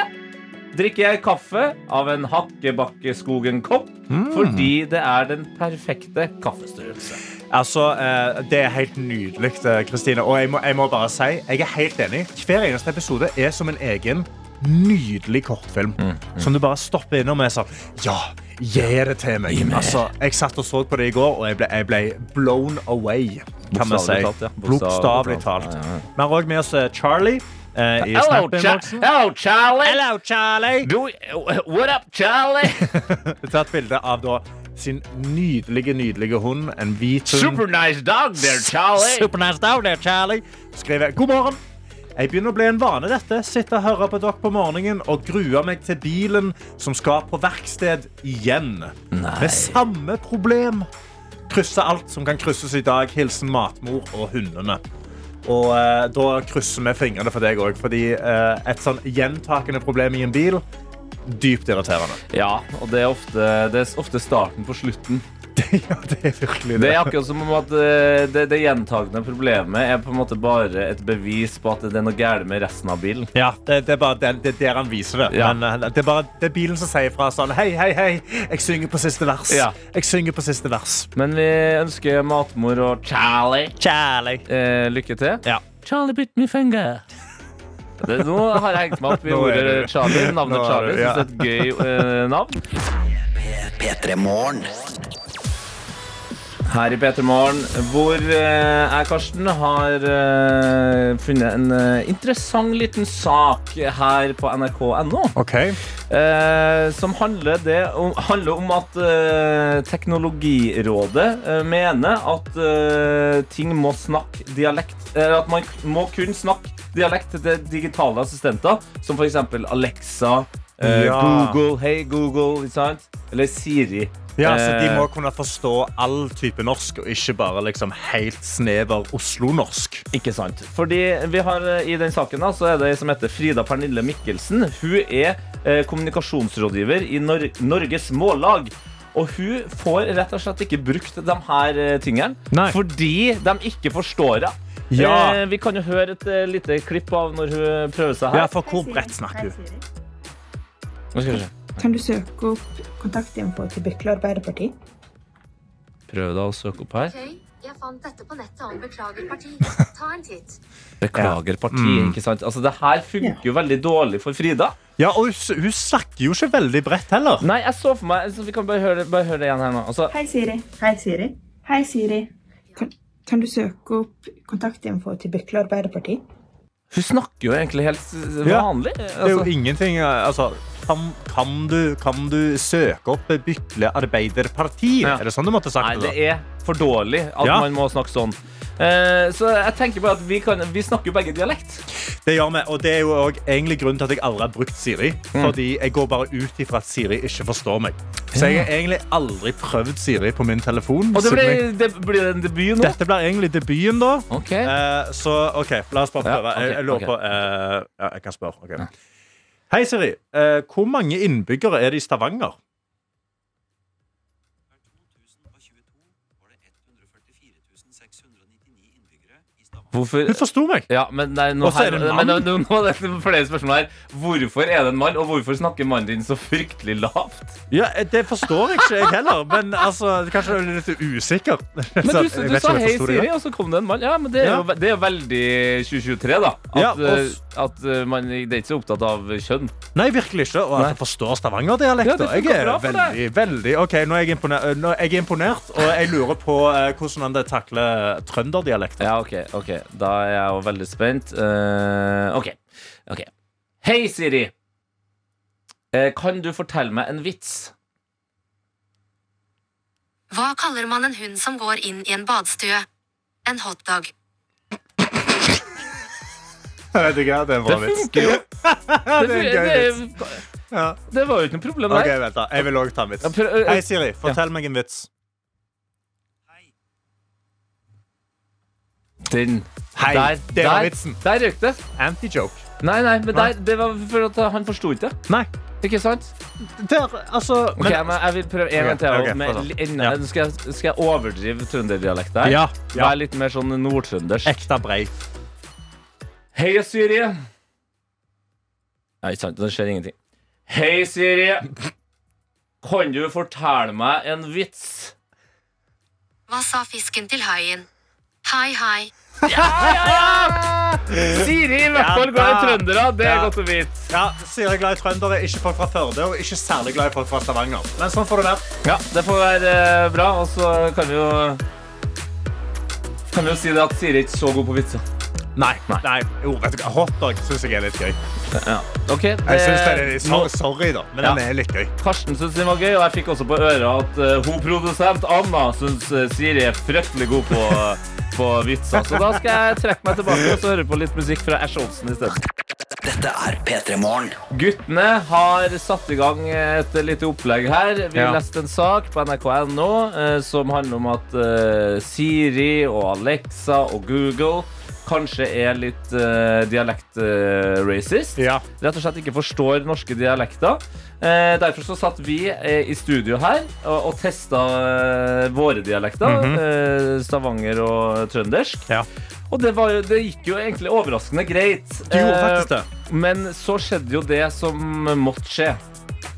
S2: drikker jeg kaffe av en Hakkebakkeskogen-kopp.
S3: Mm.
S2: Fordi det er den perfekte kaffestørrelse.
S3: Altså, eh, Det er helt nydelig, eh, Kristine. Og jeg må, jeg må bare si, jeg er helt enig. Hver eneste episode er som en egen nydelig kortfilm.
S2: Mm,
S3: Som du bare stopper innom med sånn Ja, gi det til meg. Altså, jeg satt og så på det i går, og jeg ble, jeg ble blown away. Kan man
S2: Bokstavelig
S3: si.
S2: talt, ja. Bokstavelig
S3: Bokstavelig
S2: talt.
S3: talt.
S2: Ja, ja, ja.
S3: Vi har òg med oss eh, Charlie. eh, i Snap-innboksen.
S2: Charlie!
S3: Hello, Charlie!
S2: what up, Charlie?
S3: Du har tatt bilde av da, sin nydelige, nydelige hund. En hvit hund.
S2: nice dog there,
S3: Supernice down there, Charlie. Skriver god morgen. Jeg begynner å bli en vane dette. Sitte og høre på dere på morgenen og grue meg til bilen som skal på verksted igjen. Med samme problem. Krysse alt som kan krysses i dag. Hilsen matmor og hundene. Og eh, da krysser vi fingrene for deg òg, fordi eh, et sånn gjentakende problem i en bil Dypt irriterende.
S2: Ja, og det er, ofte, det er ofte starten på slutten.
S3: ja, det er virkelig
S2: Det er akkurat som om at eh, det, det gjentagende problemet er på en måte bare et bevis på at det er noe galt med resten av bilen.
S3: Ja, det, det er bare den, det er der han viser det.
S2: Ja.
S3: Men eh, det er bare det er bilen som sier fra sånn Hei, hei, hei, jeg synger på siste vers.
S2: Ja.
S3: Jeg synger på siste vers.
S2: Men vi ønsker matmor og Charlie
S3: Kjærlig.
S2: eh, lykke til.
S3: Ja.
S2: Charlie bit me finger. Det, nå har jeg hengt meg opp i
S3: Nå er
S2: ordet
S3: du-
S2: Charlie. Navnet
S3: Nå er
S2: Charlie.
S3: du- ja.
S2: Synes det er et gøy eh, navn.
S4: P3 Morgen.
S2: her i P3 Morgen, hvor eh, jeg, Karsten, har eh, funnet en eh, interessant liten sak her på nrk.no.
S3: OK.
S2: Eh, som handler, det om, handler om at eh, Teknologirådet eh, mener at eh, ting må snakke dialekt Eller at man k- må kun snakke dialekt til digitale assistenter, som f.eks. Alexa, eh,
S3: Ja.
S2: Google, Hey Google, ikke sant? eller Siri.
S3: Ja, så De
S2: Eh,
S3: må kunne forstå all type norsk, og ikke bare liksom helt snever Oslo-norsk.
S2: Ikke sant. Fordi vi har eh, I den saken da, så er det ei som heter Frida Pernille Mikkelsen. Hun er eh, kommunikasjonsrådgiver i Nor Norges Mållag. Og hun får rett og slett ikke brukt de her eh, tingene
S3: Nei.
S2: fordi de ikke forstår det.
S3: Ja.
S2: Eh, vi kan jo høre et eh, lite klipp av når hun prøver seg
S3: Ja,
S2: her.
S3: for hvor bredt snakker hun?
S2: Nå skal vi se.
S9: Kan du søke opp kontaktinfo til Bykle Arbeiderparti?
S2: Prøv da å søke opp her.
S10: Jeg fant dette på nettet om Beklager parti. Ta en titt.
S2: Beklager parti,
S3: Mm.
S2: ikke sant? Altså, det her funker jo veldig dårlig for Frida.
S3: Ja, og hun, s- hun snakker jo ikke veldig bredt heller.
S2: Nei, jeg så for meg altså, Vi kan bare høre, bare høre det igjen her nå. Altså,
S9: Hei, Siri. Hei, Siri. Hei, Siri. Kan, kan du søke opp kontaktinfo til Bykle Arbeiderparti?
S2: hun snakker jo egentlig helt s-
S3: Ja.
S2: vanlig.
S3: Det er jo
S2: Altså.
S3: ingenting eh, Altså, kan, kan, du, kan du søke opp Bykle Arbeiderparti?
S2: Ja.
S3: Er det sånn du måtte sagt
S2: Nei,
S3: det?
S2: det er for dårlig at
S3: Ja.
S2: man må snakke sånn. Eh, så jeg tenker bare at vi, kan, vi snakker jo begge dialekt.
S3: da? Det gjør vi, og det er jo også egentlig grunnen til at jeg aldri har brukt Siri.
S2: Mm.
S3: Fordi jeg går bare ut ifra at Siri ikke forstår meg. Så jeg har egentlig aldri prøvd Siri på min telefon.
S2: Og det
S3: siden
S2: blir,
S3: jeg-
S2: det blir en debut nå.
S3: Dette blir egentlig debuten, da.
S2: Ok.
S3: Eh, så OK, la oss bare
S2: Ja,
S3: prøve.
S2: ok,
S3: jeg, jeg lurer
S2: ok.
S3: på eh, Ja, jeg kan spørre. ok. Hei, Siri. Eh, hvor mange innbyggere er det i Stavanger?
S2: Hvorfor
S3: Hun forsto meg.
S2: ja, men nei, nå,
S3: Og så er
S2: her,
S3: det en
S2: men,
S3: mann.
S2: nå, nå er det flere spørsmål her. Hvorfor er det en mann, og hvorfor snakker mannen din så fryktelig lavt?
S3: Ja, eh, Det forstår jeg ikke, jeg heller. Men altså, kanskje du er litt usikker.
S2: Men
S3: Så
S2: du,
S3: jeg
S2: du,
S3: vet ikke
S2: sa
S3: om jeg
S2: hei,
S3: forsto det
S2: Siri,
S3: godt.
S2: og så kom det en mann. Ja, men Det er
S3: Ja.
S2: jo, ve- det er jo veldig 2023, da. At,
S3: Ja, og
S2: eh,
S3: s-
S2: at eh, man det er ikke så opptatt av kjønn.
S3: Nei, virkelig ikke. Og at jeg forstår
S2: Ja,
S3: stavangerdialekter.
S2: det funker
S3: jeg er
S2: bra for
S3: veldig, veldig OK, nå er jeg imponert, eh, nå er jeg imponert og jeg lurer på eh, hvordan han takler trønderdialekter.
S2: Ja, ok, ok. Da er jeg jo veldig spent. Eh, ok. ok. Hei, Siri. Eh, kan du fortelle meg en vits?
S10: Hva kaller man en hund som går inn i en badstue? En hotdog.
S3: Jeg vet ikke, det er en
S2: Det
S3: bra vits.
S2: funker jo.
S3: Ja, det er en gøy vits.
S2: det,
S3: Ja.
S2: det var jo ikke noe problem
S3: Ok,
S2: der.
S3: vent da. Jeg vil også ta en vits.
S2: Ja, prøv- eh,
S3: Hei, Siri. Fortell meg en vits.
S2: Den.
S3: Hei,
S2: der,
S3: det var
S2: der,
S3: vitsen.
S2: Der røk det.
S3: Anti-joke.
S2: Nei, nei, men
S3: Nei.
S2: der, det var for at han forsto ikke det.
S3: Nei.
S2: Ikke sant?
S3: Der, altså
S2: Ok,
S3: men-
S2: men Jeg vil prøve en gang
S3: Ok,
S2: til.
S3: ok,
S2: og med
S3: fortsatt.
S2: li- enda-
S3: Ja.
S2: Nå skal, jeg- skal jeg overdrive trønderdialekt der?
S3: Ja, ja.
S2: Vær litt mer sånn nordtrønders.
S3: Ekte brei.
S2: Hei, Siri. Nei, ikke sant. Det skjer ingenting. Hei, Siri. Kan du fortelle meg en vits?
S10: Hva sa fisken til haien? Hei, hei.
S2: Siri, i hvert
S3: Ja,
S2: fall glad i
S3: da.
S2: trøndere. Det er
S3: Ja.
S2: godt å vite.
S3: Ja, Siri er glad i trøndere, ikke folk fra Førde og ikke særlig glad i folk fra Stavanger. Men sånn får det være.
S2: Ja, det får være eh, bra, og så kan vi jo Kan vi jo si det at Siri er ikke så god på vitser.
S3: Nei. Nei. Jo, vet du hva, Hotdog syns jeg er litt gøy.
S2: Ok, det,
S3: Jeg synes det er litt
S2: Eh, nå-
S3: sorry, sorry, da, men
S2: Ja.
S3: den er litt gøy.
S2: Karsten syntes den var gøy, og jeg fikk også på øret at eh, hun produsent Anna syns eh, Siri er fryktelig god på, eh, på vitser. Så da skal jeg trekke meg tilbake og så høre på litt musikk fra Ash Olsen isteden.
S4: Dette er P3 Morgen.
S2: Guttene har satt i gang et lite opplegg her. Vi
S3: Ja.
S2: leste en sak på nrk.no eh, som handler om at eh, Siri og Alexa og Google kanskje er litt eh, dialekt-racist
S3: Ja.
S2: rett og slett ikke forstår norske dialekter. Eh, derfor så satt vi eh, i studio her og, og testa eh, våre dialekter. eh, Stavanger og trøndersk.
S3: Mhm. Ja.
S2: Og det, var jo, det gikk jo egentlig overraskende greit. Eh,
S3: Du gjorde faktisk det.
S2: Men så skjedde jo det som måtte skje.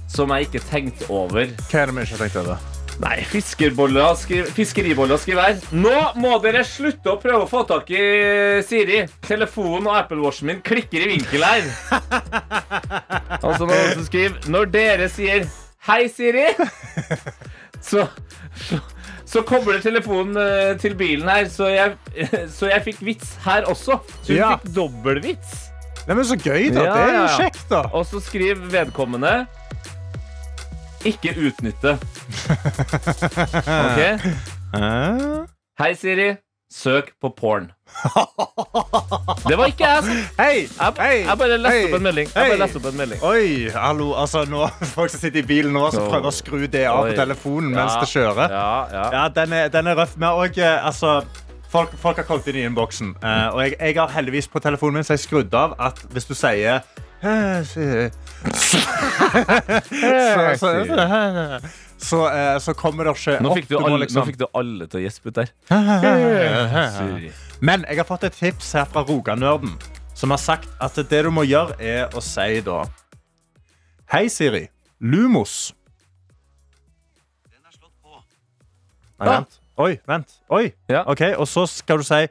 S2: Som jeg ikke tenkte over.
S3: Hva er det vi ikke har tenkt over?
S2: Nei, fiskerboller skri, fiskeriboller skriver her. Nå må dere slutte å prøve å få tak i Siri. Telefonen og Apple Watchen min klikker i vinkel her. Altså noen som skriver Når dere sier 'Hei, Siri', så, så, Så kobler telefonen eh, til bilen her, så jeg, så jeg fikk vits her også. Så hun
S3: Ja.
S2: fikk dobbel vits.
S3: Nei, men Så gøy, da.
S2: Ja,
S3: det er jo
S2: ja, ja.
S3: kjekt, da.
S2: Og så skriv vedkommende ikke utnytte. Ok?
S3: Hæ?
S2: Hei, Siri. Søk på porn. Det var ikke jeg som
S3: Hei!
S2: Jeg,
S3: Hei!
S2: jeg bare leste
S3: Hei!
S2: opp en melding. Jeg
S3: Hei!
S2: bare leste opp en melding.
S3: Oi, hallo, altså nå, Folk som sitter i bilen nå, som
S2: Nå.
S3: prøver å skru det av
S2: Oi.
S3: på telefonen mens
S2: Ja.
S3: det kjører.
S2: Ja, ja.
S3: Ja, den er, den er røff. Men òg altså, folk, folk har kommet inn i innboksen. eh, og jeg, jeg har heldigvis på telefonen min så har jeg skrudd av at hvis du sier «Hæ, Siri», så, så, så, hæ, så, eh, så kommer det ikke
S2: Nå
S3: opp.
S2: fikk, du
S3: må
S2: alle, nå
S3: liksom-
S2: fikk du alle til å gjespe ut der. Siri.
S3: Men jeg har fått et tips her fra Roganerden, som har sagt at det du må gjøre, er å si da Hei, Siri. Lumos. Den er slått på. Nei, vent. Oi, vent. Oi.
S2: Ja.
S3: OK, og så skal du si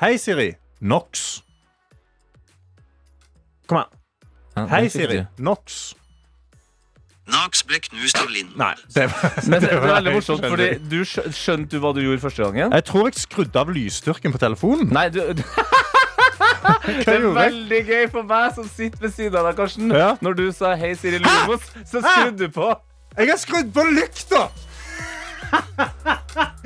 S3: Hei, Siri. Nox. Kom an.
S2: Ja,
S3: Hei,
S2: den fikk
S3: Siri.
S2: du.
S3: Nox.
S4: Nax ble knust av Lind.
S3: Nei, det var,
S2: Men det, det
S3: var
S2: er veldig
S3: helt
S2: morsomt, fordi
S3: skjønnelig.
S2: du skjø- skjønte du hva du gjorde første gangen?
S3: Jeg tror jeg skrudde av lysstyrken på telefonen.
S2: Nei, du, du
S3: Hva
S2: Det er
S3: gjorde jeg?
S2: veldig gøy for meg som sitter ved siden av deg, Karsten.
S3: Ja.
S2: Når du sa 'Hei, Siri Lumos', så skrudde du på.
S3: Jeg har skrudd på lykta!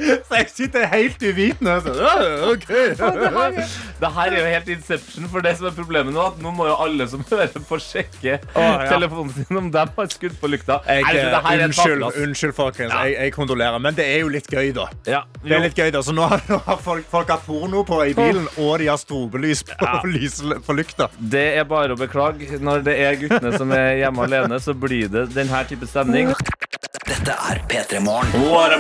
S3: Så jeg sitter helt uvitende. og så, «Å, ok».
S2: Det her er jo helt Inception, for det som er problemet nå, at nå må jo alle som hører på, sjekke
S3: Å, ja.
S2: telefonen sin om de har skudd på lykta.
S3: Jeg,
S2: Nei, altså, det her er et
S3: eh, unnskyld,
S2: taplass.
S3: unnskyld, folkens. Jeg, jeg kondolerer. Men det er jo litt gøy, da.
S2: Ja,
S3: Det er
S2: jo.
S3: litt gøy da, så Nå har, nå har folk, folk har porno på i bilen, og de har strobelys på, lys, på lykta.
S2: Det er bare å beklage. Når det er guttene som er hjemme alene, så blir det denne type stemning.
S4: Dette er P3 Morgen.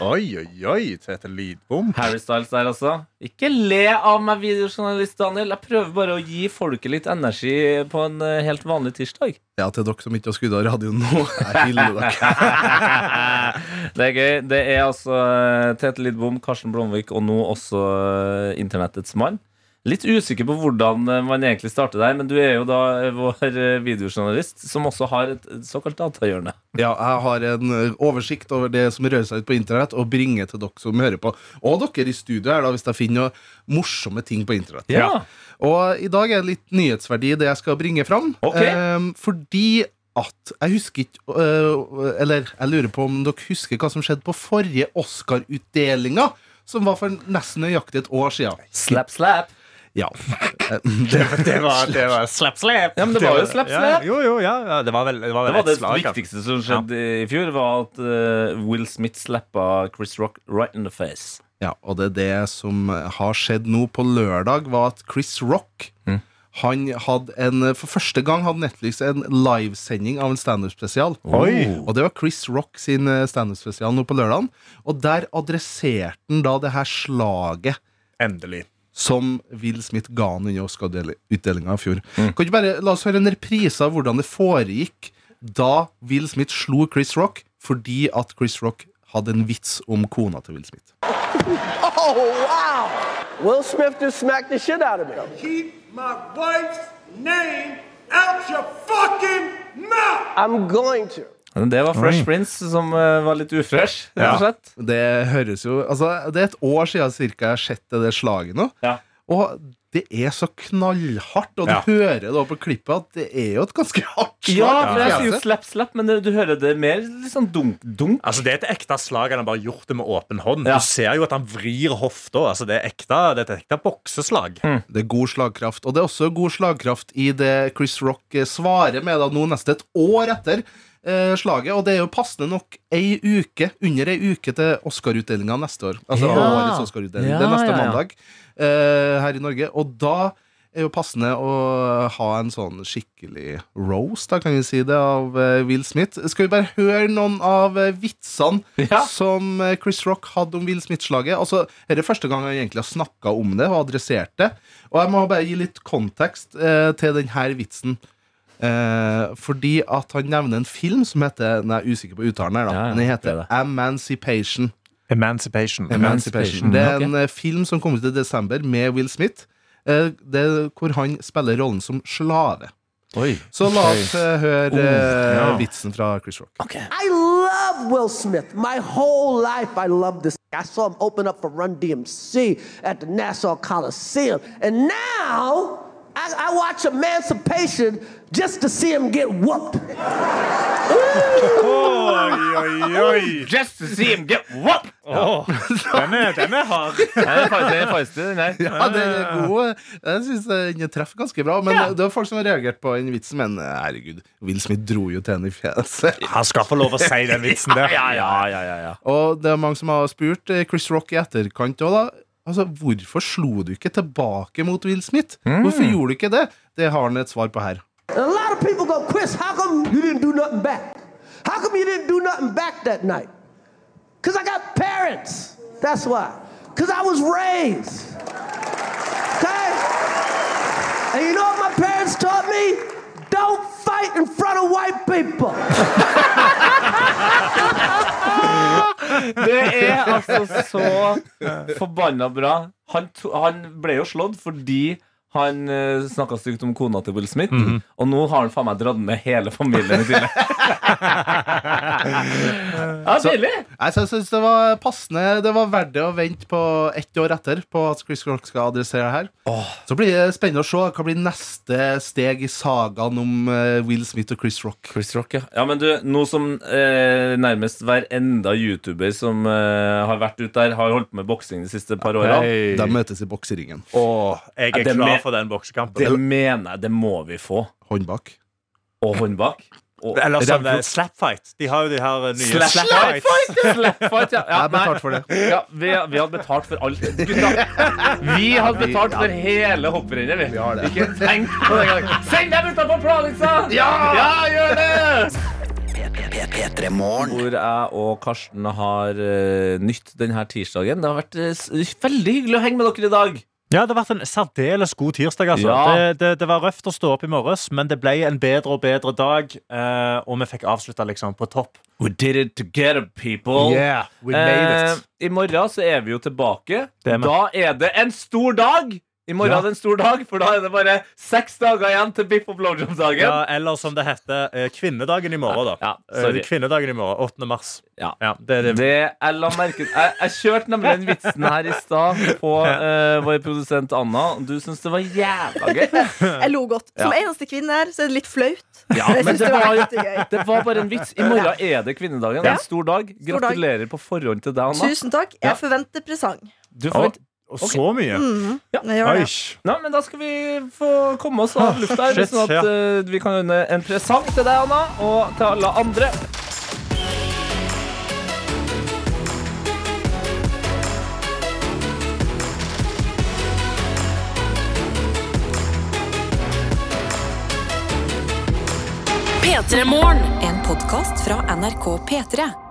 S3: Oi, oi, oi, til et lydbom.
S2: Harry Styles der, altså. Ikke le av meg, videojournalist Daniel. Jeg prøver bare å gi folket litt energi på en eh, helt vanlig tirsdag.
S11: Ja, til dere som ikke har skrudd av radioen nå. Jeg hyller dere.
S2: det er gøy. Det er altså eh, Tete Lidbom, Karsten Blomvik og nå også eh, internettets mann. Litt usikker på hvordan eh, man egentlig starter der, men du er jo da eh, vår eh, videojournalist, som også har et et såkalt datahjørne.
S11: Ja, jeg har en ø, oversikt over det som rører seg ute på internett, og bringer til dere som hører på. Og dere i studio her, da, hvis jeg finner noen morsomme ting på internett.
S2: Ja.
S11: Og i dag er det litt nyhetsverdi i det jeg skal bringe fram.
S2: Ok.
S3: Eh,
S11: Ehm, fordi at Jeg husker ikke øh, Eller jeg lurer på om dere husker hva som skjedde på forrige Oscar-utdelinga, som var for nesten nøyaktig et år siden.
S2: Slap, slap.
S11: Ja. det,
S3: Det var, det var slap, slap.
S2: Ja, men det var jo slap, slap.
S3: Ja, jo, jo, ja, ja, det var vel, det
S2: Det
S3: var vel
S2: var det
S3: et slag. altså. ja.
S2: viktigste som skjedde i fjor, var at eh, Will Smith slappa Chris Rock right in the face.
S11: Ja, og det er det som har skjedd nå på lørdag, var at Chris Rock Han hadde en, For første gang hadde Netflix en livesending av en standup-spesial.
S3: Oi.
S11: Og det var Chris Rock sin eh, standup-spesial nå på lørdag. Og der adresserte han da det her slaget
S3: Endelig.
S11: som Will Smith ga han under Oscar-utdelinga i fjor.
S3: Mm.
S11: Kan du bare La oss høre en reprise av hvordan det foregikk da Will Smith slo Chris Rock fordi at Chris Rock hadde en vits om kona til Will Smith.
S12: Will Smith just smacked the shit out of me.
S13: Keep my wife's name out your fucking mouth!
S12: I'm going to.
S2: Det var Fresh Prince som eh, var litt ufresh, rett og slett.
S11: Det høres jo Altså, det er et år siden cirka jeg har sett det der slaget nå.
S2: Ja.
S11: Og det er så knallhardt, og du
S3: Ja.
S11: hører da på klippet at det er jo et ganske hardt slag.
S2: Ja, for jeg
S11: Ja.
S2: sier jo slapp, slapp, men det- du hører det mer litt sånn dunk, dunk.
S3: Altså, det er et ekte slag. Han har bare gjort det med åpen hånd.
S2: Ja.
S3: Du ser jo at han vrir hofta. Altså, det, er ekte, det er et ekte bokseslag.
S11: Mm. Det er god slagkraft. Og det er også god slagkraft i det Chris Rock eh, svarer med da nå nesten et år etter eh, slaget. Og det er jo passende nok ei uke, under ei uke til Oscar-utdelinga neste år. Altså
S2: Ja.
S11: årets Oscar-utdeling. det
S2: Ja,
S11: er neste
S2: Ah, ja, ja.
S11: mandag eh, her i Norge. Og da er jo passende å ha en sånn skikkelig roast, da kan vi si det, av eh, Will Smith. Skal vi bare høre noen av eh, vitsene
S2: Ja.
S11: som eh, Chris Rock hadde om Will Smith-slaget. Altså, Dette er første gang han egentlig har snakka om det og adressert det. Og jeg må bare gi litt kontekst eh, til denne vitsen. Eh, fordi at han nevner en film som heter Nei, jeg er usikker på uttalen her, da.
S2: Ja, ja,
S11: men
S2: det
S11: den
S2: er
S11: heter
S2: det.
S11: Emancipation.
S3: Emancipation.
S11: Emancipation. Det er en eh, film som kom ut i desember med Will Smith. Eh, det er hvor han spiller rollen som slave. Så la oss eh, høre eh,
S12: Oh, ja.
S11: vitsen fra Chris Rock.
S12: I love Will Smith. My whole life, I love this. I saw him open up for Run DMC at the Nassau Coliseum. And now I, I watch Emancipation just to see him get whooped.
S3: Oi, oi, oi.
S2: Just to see him get what?
S3: Den, er, den er hard.
S11: Ja, den er god. Jeg syns den treffer ganske bra. Men det er folk som har reagert på den vitsen. Men eh, herregud, Will Smith dro jo til henne i fjeset.
S3: Han skal få lov å si den vitsen der.
S2: Ja, ja, ja, ja, ja.
S11: Og det er mange som har spurt eh, Chris Rock i etterkant òg, da. Altså, Hvorfor slo du ikke tilbake mot Will Smith? Hvorfor gjorde du ikke det? Det har han et svar på her.
S12: And a lot of people go, Chris, how come you didn't do nothing back? How come you didn't do nothing back that night? Because I got parents. That's why. Because I was raised. Okay? And you know what my parents taught me? Don't fight in front of white people.
S2: Det er altså så forbanna bra. Han, to, han ble jo slått fordi han uh, snakka stygt om kona til Will Smith.
S3: Mhm.
S2: Og nå har han faen meg dratt med hele familien i tillegg. ja,
S11: Så-
S2: tidlig!
S11: Nei, så Jeg syns det var passende. Det var verdt det å vente på ett år etter på at Chris Rock skal adressere det her. Så blir det spennende å se hva blir neste steg i sagaen om eh, Will Smith og Chris Rock.
S2: Chris Rock, ja. Ja, men du, nå som eh, nærmest hver enda YouTuber som eh, har vært ute der, har holdt på med boksing de siste par åra
S11: De møtes i bokseringen.
S3: jeg er
S2: Ja, det
S3: klar
S2: med-
S3: for den boksekampen.
S2: Det mener jeg, det må vi få.
S11: Hånd bak.
S2: Og hånd bak. Og
S3: Eller som det er
S2: Revlo-
S3: slapfight. De har jo de her eh, nye
S2: Slap-
S3: slapfights.
S2: Slapfight, ja. ja
S11: Jeg betalte for det.
S2: Ja, vi, vi hadde betalt for alt. Gutta, vi hadde betalt for hele hopprennet, vi. Ikke tenk på det engang. Send dem utenfor planleggelsa! Ja! ja, gjør det! Hvor jeg og Karsten har eh, nytt denne tirsdagen. Det har vært eh, s- veldig hyggelig å henge med dere i dag.
S3: Ja, det har vært en særdeles god tirsdag. Altså.
S2: Ja.
S3: Det, det, det var røft å stå opp i morges, men det ble en bedre og bedre dag. eh, og vi fikk avslutta liksom, på topp.
S2: We did it together, people.
S3: Yeah, we made it.
S2: Eh, I morgen så er vi jo tilbake.
S3: Det er vi.
S2: Da er det en stor dag! I morgen
S3: Ja.
S2: er det en stor dag, for da er det bare seks dager igjen til biff og blowjob-dagen.
S3: Ja, eller som det heter, eh, kvinnedagen i morgen. da
S2: Ja,
S3: Eh,
S2: sorry.
S3: Kvinnedagen i morgen, 8. mars.
S2: Ja.
S3: det er det.
S2: Det jeg la merke Jeg, jeg kjørte nemlig den vitsen her i stad på eh, vår produsent Anna. Du syns det var jævla gøy.
S14: Jeg lo godt. Som
S2: Ja.
S14: eneste kvinne her, så er det litt flaut.
S2: Ja,
S14: jeg
S2: men
S14: synes
S2: det
S14: det var
S2: var,
S14: riktig gøy.
S2: det var bare en vits. I morgen er det kvinnedagen. Det
S14: Ja.
S2: er en stor dag.
S14: Stor dag.
S2: Gratulerer på forhånd til deg, Anna.
S14: Tusen takk.
S2: Ja.
S14: Jeg forventer presang.
S2: Du får et Mm,
S3: Og så mye.
S14: Mhm, Jeg gjør det.
S2: Nei, men da skal vi få komme oss av lufta her,
S3: Shit,
S2: sånn at
S3: ja.
S2: eh, vi kan unne en presang til deg, Anna, og til alle andre.
S15: P3 Morgen. En podkast fra NRK P3.